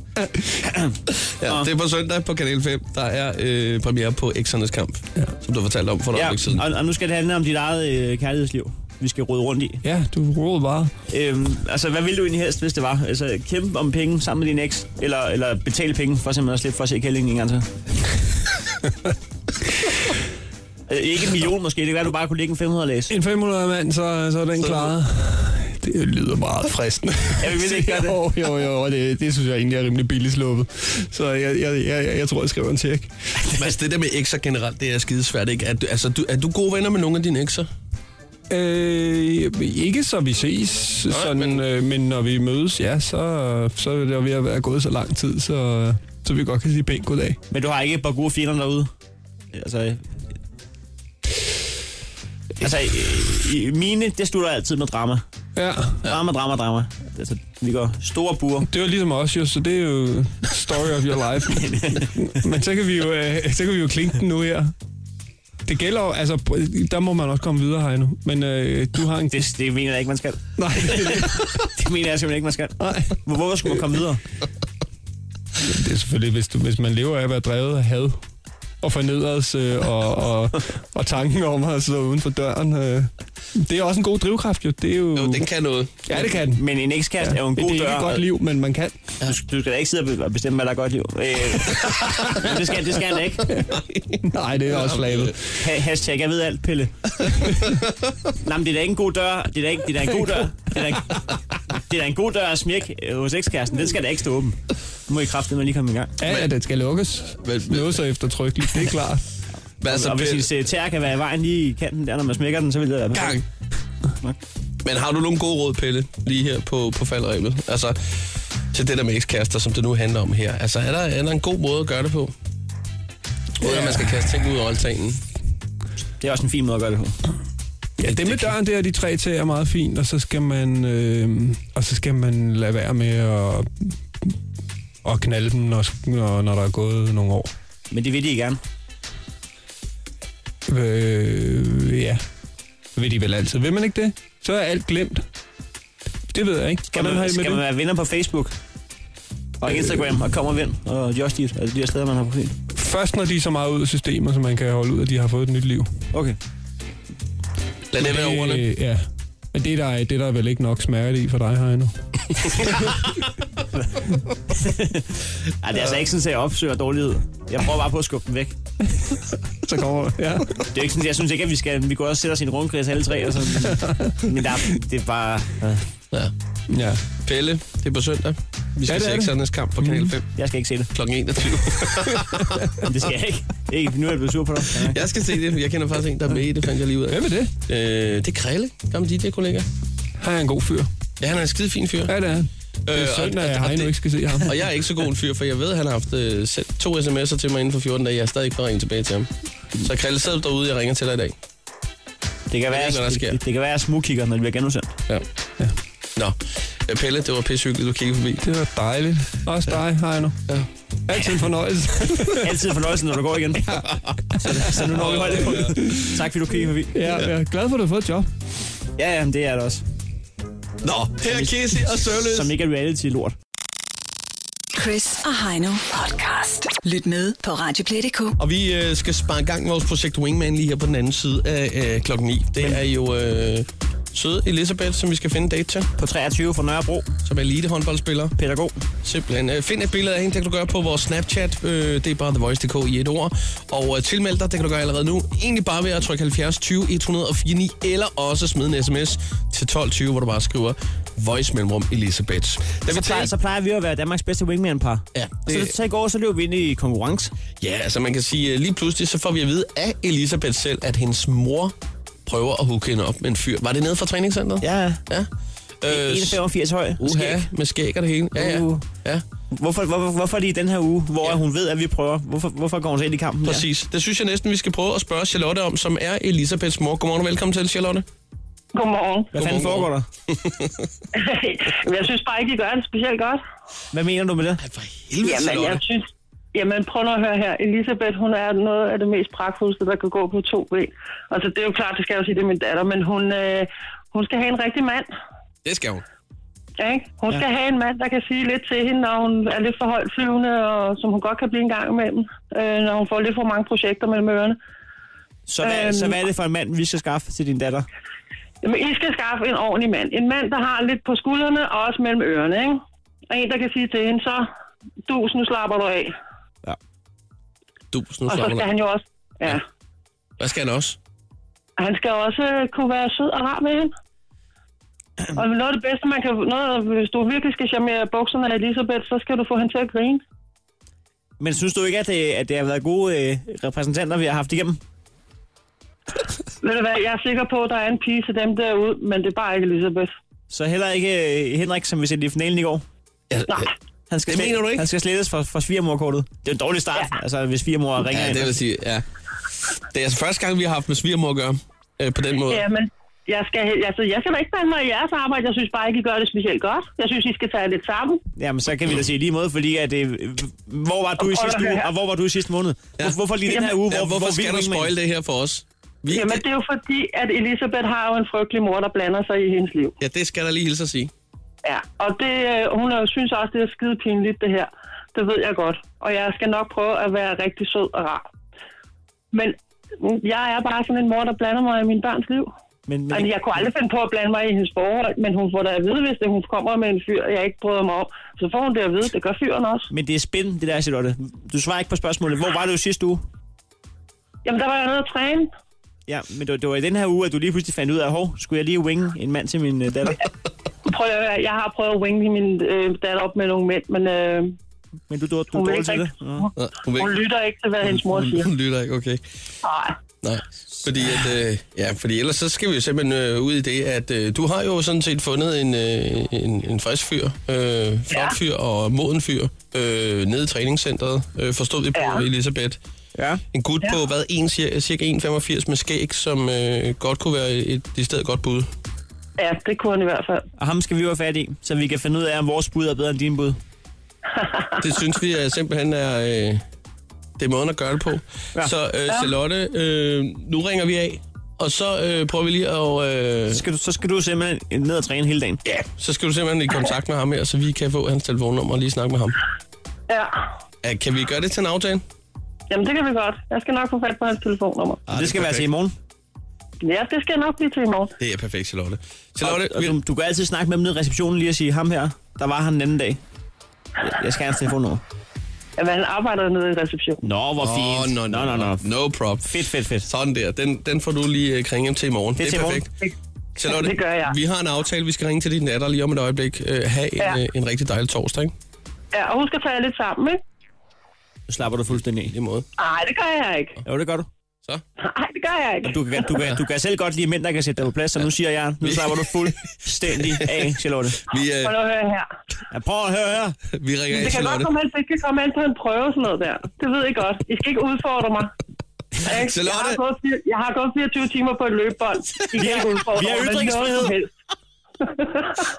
Speaker 3: Ja, det er på søndag på Kanal 5. Der er øh, premiere på X'ernes kamp, som du fortalte om for et
Speaker 4: Ja,
Speaker 3: øjeblik siden.
Speaker 4: og, og nu skal det handle om dit eget øh, kærlighedsliv, vi skal rode rundt i.
Speaker 10: Ja, du roede bare.
Speaker 4: Øhm, altså, hvad ville du egentlig helst, hvis det var? Altså, kæmpe om penge sammen med din eks, eller, eller betale penge for simpelthen at slippe for at se kællingen en gang til? Øh, ikke en million måske, det kan være, du bare kunne lægge en 500 læse.
Speaker 10: En 500 mand, så, så er den klaret. Det lyder meget fristende.
Speaker 4: Jeg vil ikke gøre det.
Speaker 10: Jo, jo, jo, og det, det synes jeg egentlig er rimelig billigt sluppet. Så jeg, jeg, jeg, jeg tror, jeg skriver en tjek.
Speaker 3: Mads, det der med ekser generelt, det er skidesvært, ikke? Er du, altså, du, er du gode venner med nogle af dine ekser?
Speaker 10: Øh, ikke så vi ses,
Speaker 3: Nej,
Speaker 10: Nej, sådan,
Speaker 3: men-
Speaker 10: men... Øh, men når vi mødes, ja, så, så er det ved at være gået så lang tid, så, så vi godt kan sige pænt goddag.
Speaker 4: Men du har ikke et par gode fjender derude? Altså... øh, Altså, øh, i- mine, det slutter altid med drama.
Speaker 10: Ja,
Speaker 4: Drama, drama, drama. Altså, vi går store buer.
Speaker 10: det var ligesom os jo, så det er jo story of your life. men så kan vi jo, øh, så kan vi jo klinke den nu her. Det gælder jo, altså, der må man også komme videre her nu. Men øh, du har en...
Speaker 4: Det, det mener jeg ikke, man skal.
Speaker 10: Nej, det,
Speaker 4: Det mener jeg simpelthen ikke, man skal.
Speaker 10: nej.
Speaker 4: Hvor- Hvorfor skulle man komme videre?
Speaker 10: Det er selvfølgelig, hvis, du, hvis man lever af at være drevet af had og fornedres, øh, og, og, og tanken om at stå uden for døren. Øh, det er også en god drivkraft, jo. Det er jo,
Speaker 3: Jo, den kan noget.
Speaker 10: Ja, det kan den.
Speaker 4: Men en ekskæreste ja, er jo en
Speaker 10: Det er
Speaker 4: god
Speaker 10: ikke
Speaker 4: dør.
Speaker 10: et godt liv, men man kan.
Speaker 4: Du, skal- du skal da ikke sidde og be- bestemme, hvad der er godt liv. Øh, men det, skal, det skal han da ikke.
Speaker 10: Nej, det er også flabet.
Speaker 4: Ha- hashtag, jeg ved alt, Pelle. Nej, men det er da ikke en god dør. Det er da, ikke, det er da en god dør. Det er da, en- det er da en god dør at smække øh, hos ekskæresten. Den skal da ikke stå åben. Nu må I kraftedeme lige komme i gang.
Speaker 10: Ja, ja, den skal lukkes.
Speaker 3: Men-
Speaker 10: Noget så eftertrykkeligt, det er klart.
Speaker 3: Men altså,
Speaker 4: og hvis
Speaker 3: Pelle-
Speaker 4: ens øh, tær kan være i vejen lige i kanten der, når man smækker den, så vil det være perfekt.
Speaker 3: gang. Men har du nogle gode råd, Pelle, lige her på, på faldrebet? Altså, til det der med ekskærester, som det nu handler om her. Altså, er der, er der en god måde at gøre det på? Uden at man skal kaste ting ud over altanen.
Speaker 4: Det er også en fin måde at gøre det på.
Speaker 10: Ja, det med døren der, de tre tag er meget fint, og så skal man, øh, og så skal man lade være med at, at knalde dem, når, når, når der er gået nogle år.
Speaker 4: Men det vil de ikke gerne.
Speaker 10: Øh, ja. Vil de vel altid. Vil man ikke det? Så er alt glemt. Det ved jeg ikke.
Speaker 4: Skal man,
Speaker 10: Hvordan har I
Speaker 4: skal man
Speaker 10: med øh.
Speaker 4: være venner på Facebook? Og Instagram, og kom og vind, og Just Eat, altså de her steder, man har profil.
Speaker 10: det? Først når de er så meget ud af systemet, så man kan holde ud, at de har fået et nyt liv.
Speaker 4: Okay.
Speaker 3: Lad det være ordene.
Speaker 10: Øh, ja. Men det er der, det er der vel ikke nok smerte i for dig her endnu.
Speaker 4: Ej, det er altså ikke sådan, at jeg opsøger dårlighed. Jeg prøver bare på at skubbe den væk. Det
Speaker 10: Så kommer ja.
Speaker 4: er ikke sådan, jeg synes ikke, at vi skal... Vi går også sætte os i en rundkreds alle tre og sådan. Men der, er- det er bare...
Speaker 3: Ja.
Speaker 10: ja.
Speaker 3: Pelle, det er på søndag. Vi skal
Speaker 10: det
Speaker 3: ja,
Speaker 10: er
Speaker 3: se
Speaker 10: det. Mhm.
Speaker 3: Eksernes kamp på Kanal 5
Speaker 4: Jeg skal ikke se det.
Speaker 3: kl. 21.
Speaker 4: Det skal jeg ikke. ikke nu er jeg blevet sur på dig. Ja.
Speaker 3: jeg skal se det. Jeg kender faktisk en, der er med i det, fandt jeg lige ud af.
Speaker 10: Hvem er det?
Speaker 3: Øh, det er Krille, gammel DJ-kollega.
Speaker 10: Han er en god fyr.
Speaker 3: Ja, han er en skide fin fyr. Øh,
Speaker 10: Ja, det er han. Øh, Det er synd, at jeg endnu ikke skal se ham.
Speaker 3: Og jeg er ikke så god en fyr, for jeg ved, at han har haft øh, sendt to sms'er til mig inden for 14 dage. Jeg har stadig ikke fået ringet tilbage til ham. Så Krille, sidder du derude, jeg ringer til dig i dag.
Speaker 4: Det kan
Speaker 3: Jeg ved
Speaker 4: være,
Speaker 3: ikke, hvad der
Speaker 4: det,
Speaker 3: sker.
Speaker 4: det, det kan være, at jeg smugkigger, når det bliver genudsendt.
Speaker 3: Ja. Nå, Ja, Pelle, det var pissehyggeligt, du kiggede forbi.
Speaker 10: Det var dejligt. Også dig, Heino. Ja. Altid en fornøjelse.
Speaker 4: Altid en fornøjelse, når du går igen. Så, så nu når vi højdepunktet. Tak fordi du kiggede forbi.
Speaker 10: Ja, jeg er glad for, at du har fået et job.
Speaker 4: Ja, jamen, det er det også.
Speaker 3: Nå, her er Kissy og Sørløs.
Speaker 4: Som ikke er reality-lort.
Speaker 2: Chris og Heino podcast. Lyt med på Radioplay.dk.
Speaker 3: Og vi øh, skal spare i gang med vores projekt Wingman lige her på den anden side af øh, klokken 9. Det er jo øh, søde Elisabeth, som vi skal finde date til,
Speaker 4: På 23 fra Nørrebro.
Speaker 3: som er elite håndboldspiller.
Speaker 4: Pædagog.
Speaker 3: Simpelthen. Øh, find et billede af hende, det kan du gøre på vores Snapchat. Øh, det er bare TheVoice.dk i et ord. Og øh, tilmeld dig, det kan du gøre allerede nu. Egentlig bare ved at trykke 70 20 104 9, eller også smide en sms til 1220, hvor du bare skriver Voice mellemrum Elisabeth. Da vi
Speaker 4: Så plejer,
Speaker 3: tal-
Speaker 4: så plejer vi at være Danmarks bedste wingman-par.
Speaker 3: Ja,
Speaker 4: Det...
Speaker 3: det-
Speaker 4: Så, så i går så løb vi ind i konkurrence.
Speaker 3: Ja, altså man kan sige, øh, lige pludselig så får vi at vide af Elisabeth selv, at hendes mor prøver at hooke hende op med en fyr. Var det nede fra træningscenteret?
Speaker 4: Ja,
Speaker 3: ja. Øh,
Speaker 4: 1,85 høj.
Speaker 3: uha,
Speaker 4: Skæg.
Speaker 3: med skæg og det hele. Ja, ja.
Speaker 4: Uh.
Speaker 3: ja.
Speaker 4: Hvorfor, hvorfor, hvorfor er det i den her uge, hvor
Speaker 3: Ja.
Speaker 4: ja. hun ved, at vi prøver? Hvorfor, hvorfor går hun så ind i kampen? her?
Speaker 3: Præcis. Det synes jeg næsten, vi skal prøve at spørge Charlotte om, som er Elisabeths mor. Godmorgen og velkommen til, Charlotte.
Speaker 6: Godmorgen.
Speaker 4: Hvad fanden
Speaker 3: Godmorgen.
Speaker 4: foregår der?
Speaker 6: Men jeg synes bare ikke, de gør det specielt godt.
Speaker 4: Hvad mener du med det?
Speaker 3: Ej, for helvede,
Speaker 6: Jamen, jeg
Speaker 3: Charlotte.
Speaker 6: synes... Jamen, prøv nu at høre her. Elisabeth, hun er noget af det mest pragtfulde, der kan gå på to ben. Altså, det er jo klart, det skal jeg jo sige, det er min datter, men hun, øh, hun skal have en rigtig mand.
Speaker 3: Det skal hun.
Speaker 6: Ja, Ikke? Hun ja. skal have en mand, der kan sige lidt til hende, når hun er lidt for højt flyvende, og som hun godt kan blive en gang imellem, øh, når hun får lidt for mange projekter mellem ørerne.
Speaker 4: Så hvad, øhm... så
Speaker 6: Øhm.
Speaker 4: hvad er det for en mand, vi skal skaffe til din datter?
Speaker 6: Jamen, I skal skaffe en ordentlig mand. En mand, der har lidt på skuldrene og også mellem ørerne, ikke? Og en, der kan sige til hende, så dus, nu slapper du af.
Speaker 3: Du, nu
Speaker 6: Og så
Speaker 3: slår
Speaker 6: skal
Speaker 3: han.
Speaker 6: han jo også... Ja.
Speaker 3: Hvad skal han også?
Speaker 6: Han skal også øh, kunne være sød og rar med hende. Og noget af det bedste, man kan... Noget, hvis du virkelig skal charmere bukserne af Elisabeth, så skal du få hende til at grine.
Speaker 4: Men synes du ikke, at det, at det har været gode øh, repræsentanter, vi har haft igennem?
Speaker 6: Ved du hvad, jeg er sikker på, at der er en pige til dem derude, men det er bare ikke Elisabeth.
Speaker 4: Så heller ikke øh, Henrik, som vi sendte i finalen i går.
Speaker 3: Ja,
Speaker 6: Nej.
Speaker 4: Han skal
Speaker 3: Det
Speaker 4: slet-
Speaker 3: mener du ikke?
Speaker 4: Han skal slettes fra, fra svigermorkortet. Det er en dårlig start, ja. altså hvis svigermor ringer
Speaker 3: ja,
Speaker 4: ind.
Speaker 3: det vil sige, ja. Det er altså første gang, vi har haft med svigermor at gøre øh, på den måde.
Speaker 6: Ja, men jeg skal, he- altså, jeg skal da ikke blande mig i jeres arbejde. Jeg synes bare ikke, I gør det specielt godt. Jeg synes, I skal tage lidt sammen.
Speaker 4: Jamen, så kan vi da sige lige måde, fordi at, øh, hvor var du i
Speaker 6: Og- og
Speaker 4: sidste
Speaker 6: der-
Speaker 4: uge, og hvor var du i sidste måned? Ja. Hvorfor lige den her uge, hvor,
Speaker 3: Ja, hvorfor
Speaker 4: hvor
Speaker 3: skal
Speaker 4: vi
Speaker 3: du spoil det her for os? Vi,
Speaker 6: Jamen, det er jo fordi, at Elisabeth har jo en frygtelig mor, der blander sig i hendes liv.
Speaker 3: ja, det skal der lige hilse at sige.
Speaker 6: Ja, og det, øh, hun er, synes også, det er skide pinligt, det her. Det ved jeg godt. Og jeg skal nok prøve at være rigtig sød og rar. Men mm, jeg er bare sådan en mor, der blander mig i mine børns liv.
Speaker 4: Men,
Speaker 6: Altså,
Speaker 4: men,
Speaker 6: jeg kunne aldrig finde på at blande mig i hendes forhold, men hun får da at vide, hvis det, hun kommer med en fyr, jeg ikke bryder mig om. Så får hun det at vide, det gør fyren også.
Speaker 4: men det er spændende, det der, Charlotte. Du svarer ikke på spørgsmålet. Hvor var du i sidste uge?
Speaker 6: Jamen, der var jeg nede at træne.
Speaker 4: Ja, men det var, det var i den her uge, at du lige pludselig fandt ud af, hov, skulle jeg lige winge en mand til min øh, datter?
Speaker 6: Prøv at høre, jeg har prøvet at winke min øh, datter op med nogle mænd, men øh,
Speaker 4: Men du, du, du, du
Speaker 6: hun,
Speaker 4: er
Speaker 6: vil
Speaker 4: dårlig
Speaker 6: ikke
Speaker 4: til det.
Speaker 6: rigtig,
Speaker 4: Nå. Mm.
Speaker 6: hun,
Speaker 3: Nå, hun, vil
Speaker 6: hun
Speaker 3: ikke-
Speaker 6: lytter ikke til, hvad hendes mor siger.
Speaker 3: hun lytter ikke, okay.
Speaker 6: Nej.
Speaker 3: Nej, fordi, at, øh, ja, fordi ellers så skal vi jo simpelthen øh, ud i det, at øh, du har jo sådan set fundet en, øh, en, en frisk fyr, øh, flot
Speaker 6: Ja.
Speaker 3: fyr og moden fyr øh, nede i træningscenteret, øh, forstod vi på ja.
Speaker 6: Ja.
Speaker 3: Elisabeth.
Speaker 4: Ja.
Speaker 3: En gut ja.
Speaker 6: Ja.
Speaker 3: på hvad, en, cir- cirka 1,85 med skæg, som øh, godt kunne være et i stedet godt bud.
Speaker 6: Ja, det kunne hun i hvert fald.
Speaker 4: Og ham skal vi jo have fat i, så vi kan finde ud af, om vores bud er bedre end din bud.
Speaker 3: Det synes vi er simpelthen er, øh, det er måden at gøre det på. Ja.
Speaker 4: Ja.
Speaker 3: Så øh, Charlotte, øh, nu ringer vi af, og så øh, prøver vi lige at... Øh,
Speaker 4: Så skal du, så skal du simpelthen ned og træne hele dagen.
Speaker 3: Ja, så skal du simpelthen i kontakt med ham her, så vi kan få hans telefonnummer og lige snakke med ham.
Speaker 6: Ja.
Speaker 3: Ja, Kan vi gøre det til en aftale?
Speaker 6: Jamen, det kan vi godt. Jeg skal nok få fat på hans telefonnummer.
Speaker 3: Ah,
Speaker 4: det skal være til i morgen.
Speaker 6: Ja, det skal jeg nok blive til i morgen.
Speaker 3: Det er perfekt, Charlotte.
Speaker 4: Og,
Speaker 3: Charlotte,
Speaker 4: og
Speaker 3: vi,
Speaker 4: du, du kan altid snakke med dem nede i receptionen lige og sige, ham her, der var han den anden dag. Jeg- Jeg skal have hans telefonnummer.
Speaker 6: Jamen, han arbejder nede i receptionen.
Speaker 4: Nå, hvor
Speaker 3: Åh,
Speaker 4: fint.
Speaker 3: no, no,
Speaker 4: nå, nå, nå.
Speaker 3: no, no prop.
Speaker 4: Fedt, fedt, fedt.
Speaker 3: Sådan der. Den, den får du lige øh, kringe hjem til i morgen.
Speaker 4: Det er
Speaker 3: Det, det er
Speaker 4: til i
Speaker 3: perfekt. Charlotte,
Speaker 6: Det gør jeg.
Speaker 3: vi har en aftale. Vi skal ringe til din datter lige om et øjeblik. Øh, ha' en,
Speaker 6: Ja.
Speaker 3: øh, en rigtig dejlig torsdag, ikke?
Speaker 6: Ja, og hun skal tage lidt sammen, ikke?
Speaker 4: Nu slapper du fuldstændig af.
Speaker 3: I lige måde.
Speaker 6: Nej, det gør jeg ikke.
Speaker 4: Jo, det gør du.
Speaker 3: Så.
Speaker 6: Nej, det gør jeg ikke.
Speaker 4: Du kan, du, kan, du kan selv godt lide mænd, der kan sætte dig på plads, så nu siger jeg, nu slapper du fuldstændig af, Charlotte.
Speaker 3: Vi, øh,
Speaker 6: Prøv nu at høre her.
Speaker 4: Ja, prøv at høre her.
Speaker 3: vi
Speaker 6: Det
Speaker 3: ringer af,
Speaker 6: kan godt
Speaker 3: Charlotte.
Speaker 6: komme an, det kan komme an på en prøve sådan noget der. Det ved jeg godt. I skal ikke udfordre mig. Ikke? Jeg
Speaker 3: Charlotte.
Speaker 6: har, gået, fire- jeg har gået 24 timer på et løbebånd. I kan ikke udfordre
Speaker 4: vi har
Speaker 6: mig med noget
Speaker 4: ytringsfrihed.
Speaker 6: som helst.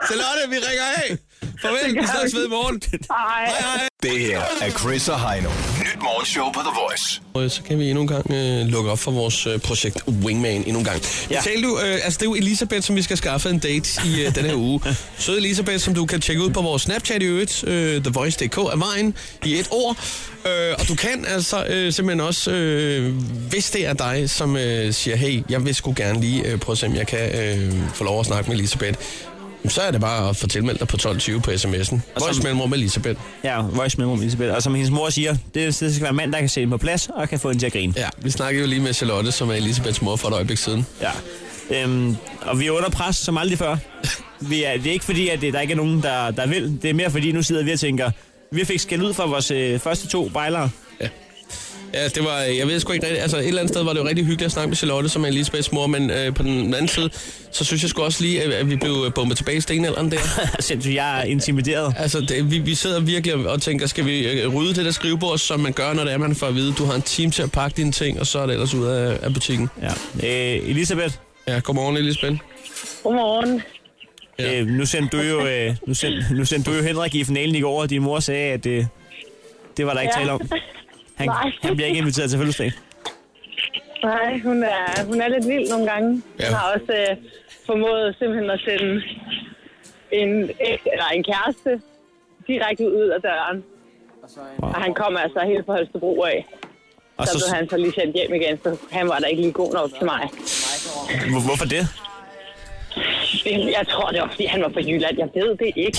Speaker 3: Charlotte, vi ringer af. Farvel, vi snakkes ved i morgen.
Speaker 6: Hej.
Speaker 3: hej.
Speaker 5: Det her er Chris og Heino. Nyt morgenshow på The Voice.
Speaker 3: Og så kan vi endnu en gang øh, lukke op for vores øh, projekt Wingman endnu en gang. Ja. Talte du, øh, altså det er jo Elisabeth, som vi skal skaffe en date i øh, den her uge. Søde Elisabeth, som du kan tjekke ud på vores Snapchat i øvrigt, øh, thevoice.dk er vejen i et ord. Øh, og du kan altså øh, simpelthen også, øh, hvis det er dig, som øh, siger, hey, jeg vil sgu gerne lige øh, prøve at se, om jeg kan øh, få lov at snakke med Elisabeth. Så er det bare at få tilmeldt dig på 12.20 på sms'en. Voice mellemrum Elisabeth.
Speaker 4: Ja, voice memo med Elisabeth. Og som hendes mor siger, det, det skal være en mand, der kan sætte på plads og kan få hende til at grine.
Speaker 3: Ja, vi snakkede jo lige med Charlotte, som er Elisabeths mor for et øjeblik siden.
Speaker 4: Ja. Øhm, og vi er under pres, som aldrig før. Vi er, det er ikke fordi, at det, der ikke er nogen, der, der vil. Det er mere fordi, nu sidder vi og tænker, vi fik skæld ud fra vores øh, første to bejlere.
Speaker 3: Ja, det var, jeg ved sgu ikke rigtigt, altså et eller andet sted var det jo rigtig hyggeligt at snakke med Charlotte, som er Elisabeths mor, men øh, på den anden side, så synes jeg sgu også lige, at, at vi blev øh, bombet tilbage i stenalderen der.
Speaker 4: Sindssygt, jeg er intimideret.
Speaker 3: Altså, det, vi, vi sidder virkelig og- og tænker, skal vi øh, rydde det der skrivebord, som man gør, når det er, man får at vide, du har en time til at pakke dine ting, og så er det ellers ude af, af butikken.
Speaker 4: Ja. Øh, Elisabeth?
Speaker 3: Ja, godmorgen Elisabeth.
Speaker 6: Godmorgen.
Speaker 3: Ja.
Speaker 4: Øh, nu, sendte du jo, øh, nu, sendte, nu sendte du jo Henrik i finalen i går, og din mor sagde, at øh, det var der ikke
Speaker 11: Ja.
Speaker 4: tale om. Han,
Speaker 11: Nej.
Speaker 4: han bliver ikke inviteret til fødselsdag.
Speaker 11: Nej, hun er, hun er lidt vild nogle gange. Ja. Hun har også øh, formået simpelthen at sende en, ægte- eller en kæreste direkte ud af døren. Og han kom altså helt på Holstebro af.
Speaker 4: Og
Speaker 11: Så,
Speaker 4: så-
Speaker 11: så blev han så lige sendt hjem igen, så han var da ikke lige god nok til mig.
Speaker 4: Hvor- Hvorfor det?
Speaker 11: Men Jeg tror, det var, fordi han var fra Jylland. Jeg ved det ikke.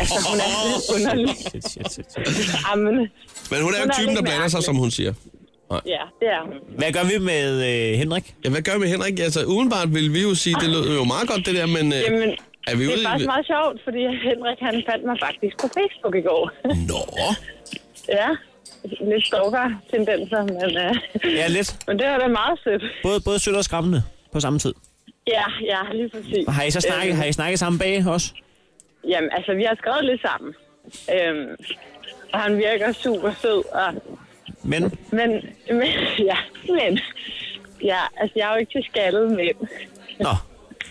Speaker 11: Altså, hun er lidt underlig.
Speaker 4: Shit, shit, shit.
Speaker 11: Jamen,
Speaker 3: Men hun er jo
Speaker 11: Hun er
Speaker 3: typen,
Speaker 11: lidt
Speaker 3: der blander sig,
Speaker 11: mærkelig.
Speaker 3: som hun siger.
Speaker 11: ja, det er hun.
Speaker 4: Hvad gør vi med øh, Henrik?
Speaker 3: Ja, hvad gør vi med Henrik? Altså, udenbart vil vi jo sige, det lød jo meget godt det der, men øh,
Speaker 11: Jamen,
Speaker 3: er vi ude
Speaker 11: det er
Speaker 3: i...
Speaker 11: faktisk meget sjovt, fordi Henrik han fandt mig faktisk på Facebook i går.
Speaker 3: Nå,
Speaker 11: Ja, lidt stalker-tendenser, men, øh,
Speaker 4: Ja, lidt.
Speaker 11: men det var da meget sødt.
Speaker 4: Både, både sødt og skræmmende på samme tid.
Speaker 11: Ja, ja, lige præcis.
Speaker 4: Og Har I så snakket,
Speaker 11: Øhm,
Speaker 4: har I snakket sammen bag også?
Speaker 11: Jamen, altså, vi har skrevet lidt sammen. Øhm, og han virker super sød, og,
Speaker 4: Men,
Speaker 11: men, men, ja, men, ja, altså, jeg er jo ikke til skaldet mænd.
Speaker 4: nå,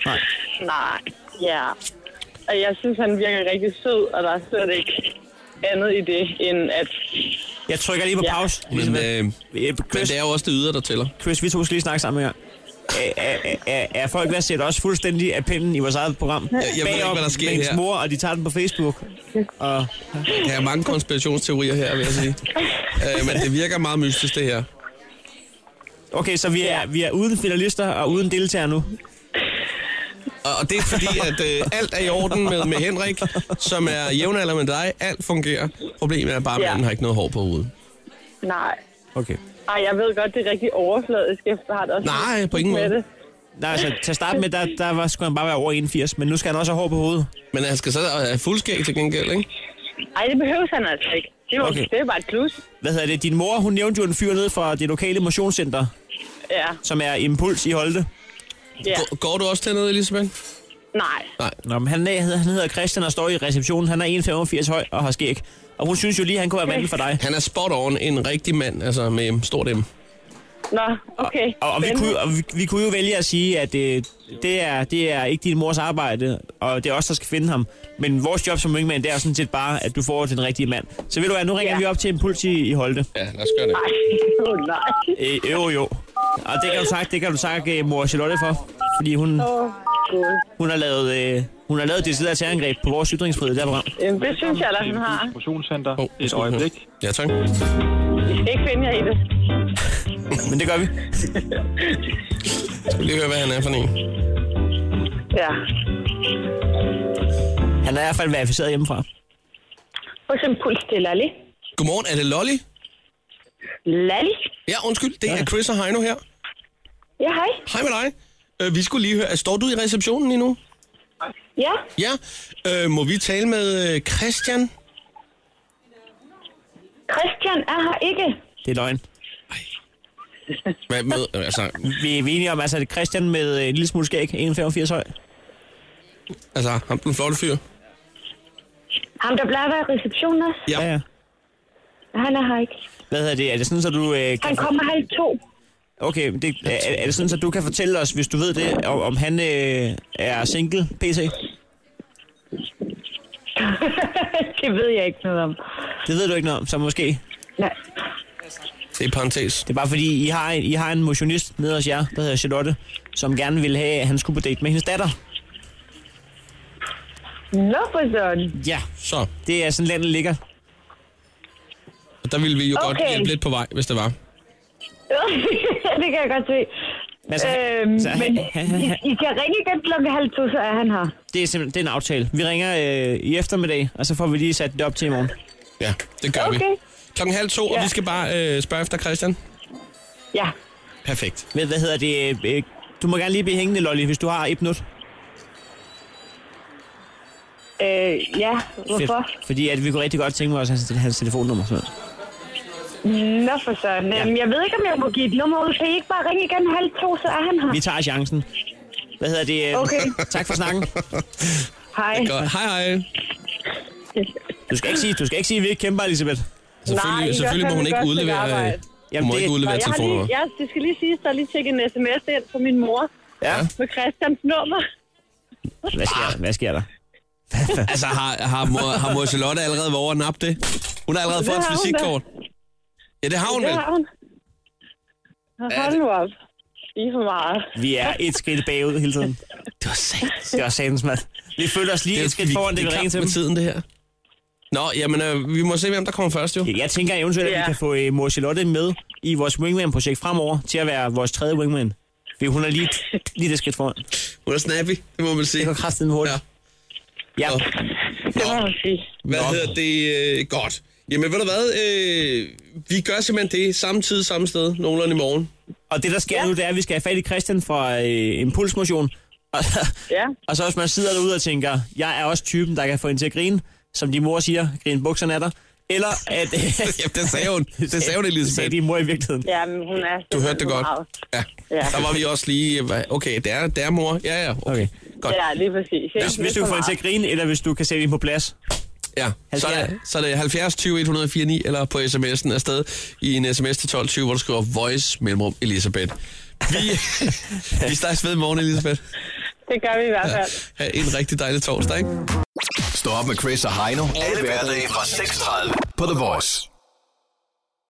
Speaker 4: nej.
Speaker 11: Nej, ja. Og jeg synes, han virker rigtig sød, og der er slet ikke andet i det, end at...
Speaker 4: Jeg trykker lige på
Speaker 11: Ja.
Speaker 4: pause.
Speaker 3: men, øh,
Speaker 4: Øh,
Speaker 3: men
Speaker 4: Chris,
Speaker 3: det er jo også det ydre, der tæller.
Speaker 4: Chris, vi to skal lige snakke sammen her. Er, er, er, er folk ved at sætte os fuldstændig af pinden i vores eget program? Jeg,
Speaker 3: jeg ved ikke, hvad der sker
Speaker 4: med hendes
Speaker 3: her.
Speaker 4: mor, og de tager den på Facebook. Og
Speaker 3: Der er mange konspirationsteorier her, vil jeg sige. Øh, men det virker meget mystisk, det her.
Speaker 4: Okay, så vi er, vi er uden finalister og uden deltagere nu.
Speaker 3: Og, og det er fordi, at øh, alt er i orden med, med Henrik, som er jævnalder med dig. Alt fungerer. Problemet er bare, at
Speaker 11: Ja.
Speaker 3: manden har ikke noget hår på hovedet.
Speaker 11: Nej.
Speaker 4: Okay.
Speaker 11: Ej, jeg ved godt, det er rigtig overfladisk efterhånden. også.
Speaker 3: Nej, på ingen
Speaker 11: Med
Speaker 3: måde.
Speaker 11: det.
Speaker 4: Nej, altså, til at starte med, der, der var, skulle han bare være over 81, men nu skal han også have hår på hovedet.
Speaker 3: Men han skal så øh, have fuldskæg til gengæld, ikke?
Speaker 11: Ej, det behøves han altså ikke. Det var,
Speaker 4: Okay.
Speaker 11: okay. det er bare et plus.
Speaker 4: Hvad hedder det? Din mor, hun nævnte jo en fyr nede fra det lokale motionscenter,
Speaker 11: Ja,
Speaker 4: som er Impuls i Holte.
Speaker 11: ja.
Speaker 3: Går, går du også dernede, Elisabeth?
Speaker 11: Nej.
Speaker 4: Nå, men han, er- han hedder Christian og står i receptionen. Han er 1,85 høj og har skæg. Og hun synes jo lige, at han kunne være manden for dig.
Speaker 3: Han er spot on. En rigtig mand, altså med M, stort M.
Speaker 11: Nå, okay.
Speaker 4: Og, og, vi,
Speaker 11: Spændende.
Speaker 4: kunne, jo- og vi, vi kunne jo vælge at sige, at øh, det, er, det er ikke din mors arbejde, og det er os, der skal finde ham. Men vores job som wingman, det er jo sådan set bare, at du får den rigtige mand. Så ved du hvad, nu ringer
Speaker 11: Ja.
Speaker 4: ja. vi op til Impuls i, i Holte.
Speaker 3: Ja, lad os gøre det.
Speaker 11: Ej, åh, nej.
Speaker 4: Øh, jo, jo. Og det kan du sagt, det kan du sagt øh, mor Charlotte for. Fordi hun,
Speaker 11: Åh, Gud.
Speaker 4: hun har lavet, øh, hun har lavet decideret terrorangreb på vores ytringsfrihed i det her program.
Speaker 11: Jamen, det synes jeg, at han har.
Speaker 12: Motionscenter.
Speaker 3: Oh,
Speaker 12: Et øjeblik.
Speaker 3: Ja, tak.
Speaker 11: I skal ikke finde jer i det.
Speaker 4: Men det gør vi.
Speaker 3: Skal vi lige høre, hvad han er for en.
Speaker 11: Ja.
Speaker 4: Han er i hvert fald verificeret hjemmefra.
Speaker 11: For eksempel til Lally.
Speaker 3: Godmorgen, er det Lolly?
Speaker 11: Lally?
Speaker 3: Ja, undskyld, det er Chris og Heino her.
Speaker 11: Ja, hej.
Speaker 3: Hej med dig. Øh, vi skulle lige høre, står du i receptionen lige nu?
Speaker 11: Ja,
Speaker 3: Ja. Øh, må vi tale med øh, Christian?
Speaker 11: Christian er her ikke.
Speaker 4: Det er løgn.
Speaker 3: Hvad med, øh, altså,
Speaker 4: Vi er enige om, altså det er Christian med øh, en lille smule skæg, 1,85 høj.
Speaker 3: altså ham den flotte fyr?
Speaker 11: Ham, der plejer at være i receptionen også.
Speaker 3: Ja.
Speaker 4: ja.
Speaker 11: Han er her ikke.
Speaker 4: Hvad hedder det? Er det sådan, så du øh, kan...
Speaker 11: kommer halv to.
Speaker 4: Okay, men det, er, er det sådan, så du kan fortælle os, hvis du ved det, om, om han øh, er single, PC?
Speaker 11: det ved jeg ikke noget om.
Speaker 4: Det ved du ikke noget om, så måske.
Speaker 11: Nej.
Speaker 3: Det er parentes.
Speaker 4: Det er bare fordi, I har en, I har en motionist nede hos jer, der hedder Charlotte, som gerne ville have, at han skulle på date med hendes datter.
Speaker 11: Nå, for sådan.
Speaker 4: Ja.
Speaker 3: Så.
Speaker 4: Det er sådan, landet ligger.
Speaker 3: Og der ville vi jo okay. godt
Speaker 11: Okay.
Speaker 3: hjælpe lidt på vej, hvis det var.
Speaker 11: det kan jeg godt se.
Speaker 4: Altså,
Speaker 11: øhm,
Speaker 4: så-
Speaker 11: men I, I kan ringe igen klokken halv to, så er han her.
Speaker 4: Det er simpelthen det er en aftale. Vi ringer øh, i eftermiddag, og så får vi lige sat det op til i morgen.
Speaker 3: Ja, det gør vi. Klokken halv to, ja. og vi skal bare øh, spørge efter Christian.
Speaker 11: Ja.
Speaker 3: Perfekt.
Speaker 4: Ved, hvad hedder det? Øh, du må gerne lige blive hængende, Lolly, hvis du har et minut.
Speaker 11: Øh, ja, hvorfor?
Speaker 4: Fedt. Fordi at vi kunne rigtig godt tænke os hans, hans telefonnummer. Så.
Speaker 11: Nå, for sådan. Ja. Jeg ved ikke, om jeg må give et nummer ud. Kan I ikke bare ringe igen halv to, så er han her?
Speaker 4: Vi tager chancen. Hvad hedder det? øh,
Speaker 11: Okay.
Speaker 4: tak for snakken.
Speaker 11: Hej.
Speaker 3: Hej, hej.
Speaker 4: Du skal ikke sige, du skal ikke sige at vi ikke kæmper, Elisabeth.
Speaker 11: Nej, I gør fandme godt stykke
Speaker 3: øh,
Speaker 11: arbejde.
Speaker 4: Jamen, det,
Speaker 11: Nå, jeg har lige, jeg, det skal lige sige, at der er lige tjekket en sms ind fra min mor.
Speaker 4: Ja.
Speaker 11: Med Christians nummer.
Speaker 4: Hvad sker der? Hvad sker der?
Speaker 3: altså, har, har, mor, har mor Charlotte allerede været over at nappe det? Hun har allerede
Speaker 11: Det
Speaker 3: fået et
Speaker 11: har hun da.
Speaker 3: visitkort. Ja, det har hun
Speaker 11: det
Speaker 3: vel.
Speaker 11: Har hun. Hold nu op. Lige for meget.
Speaker 4: Vi er et skridt bagud hele tiden. Det var satans. Det var satans, mand. Vi føler os lige
Speaker 3: Det er-
Speaker 4: et skridt
Speaker 3: vi-
Speaker 4: foran, det
Speaker 3: det
Speaker 4: vi
Speaker 3: er
Speaker 4: ringer til
Speaker 3: kamp
Speaker 4: dem.
Speaker 3: med tiden, det her. Nå, jamen, øh, vi må se, hvem der kommer først, jo.
Speaker 4: Jeg tænker eventuelt, at vi kan få øh, mor Charlotte med i vores wingman-projekt fremover til at være vores tredje wingman. Fordi hun er lige, lige det skridt foran.
Speaker 3: Hun er snappy, det må man sige.
Speaker 4: Det går kraftigt hurtigt. Ja. ja.
Speaker 11: Det må man sige.
Speaker 3: Hvad
Speaker 4: Nå.
Speaker 3: hedder det? Øh, godt. Jamen, ved du hvad? Øh, vi gør simpelthen det samme tid, samme sted, nogenlunde i morgen.
Speaker 4: Og det, der sker ja. nu, det er, at vi skal have fat i Christian fra øh, Impulsmotion. Og,
Speaker 11: ja.
Speaker 4: og så hvis man sidder derude og tænker, jeg er også typen, der kan få en til at grine, som de mor siger, grine bukserne af dig. Eller at...
Speaker 3: Jamen, det sagde hun. Det sagde hun, Elisabeth.
Speaker 4: Det sagde din mor i virkeligheden.
Speaker 11: Ja, men hun er...
Speaker 3: Du hørte det godt. Ja.
Speaker 11: Ja.
Speaker 3: Der var vi også lige, hva- okay, det er, det er mor. Ja, ja, okay. okay. Godt.
Speaker 11: Ja, lige præcis.
Speaker 4: Hvis, hvis du kan få en til at grine, eller hvis du kan sætte en på plads.
Speaker 3: Ja, så er, det- så er det 70 20 104 9, eller på sms'en afsted i en sms til 12 20, hvor du skriver voice mellemrum Elisabeth. Vi, vi snakkes ved i morgen, Elisabeth.
Speaker 11: Det gør vi i hvert fald.
Speaker 3: Ha' en rigtig dejlig torsdag, ikke?
Speaker 5: Stå op med Chris og Heino. Alle hverdage fra 6.30 på The Voice.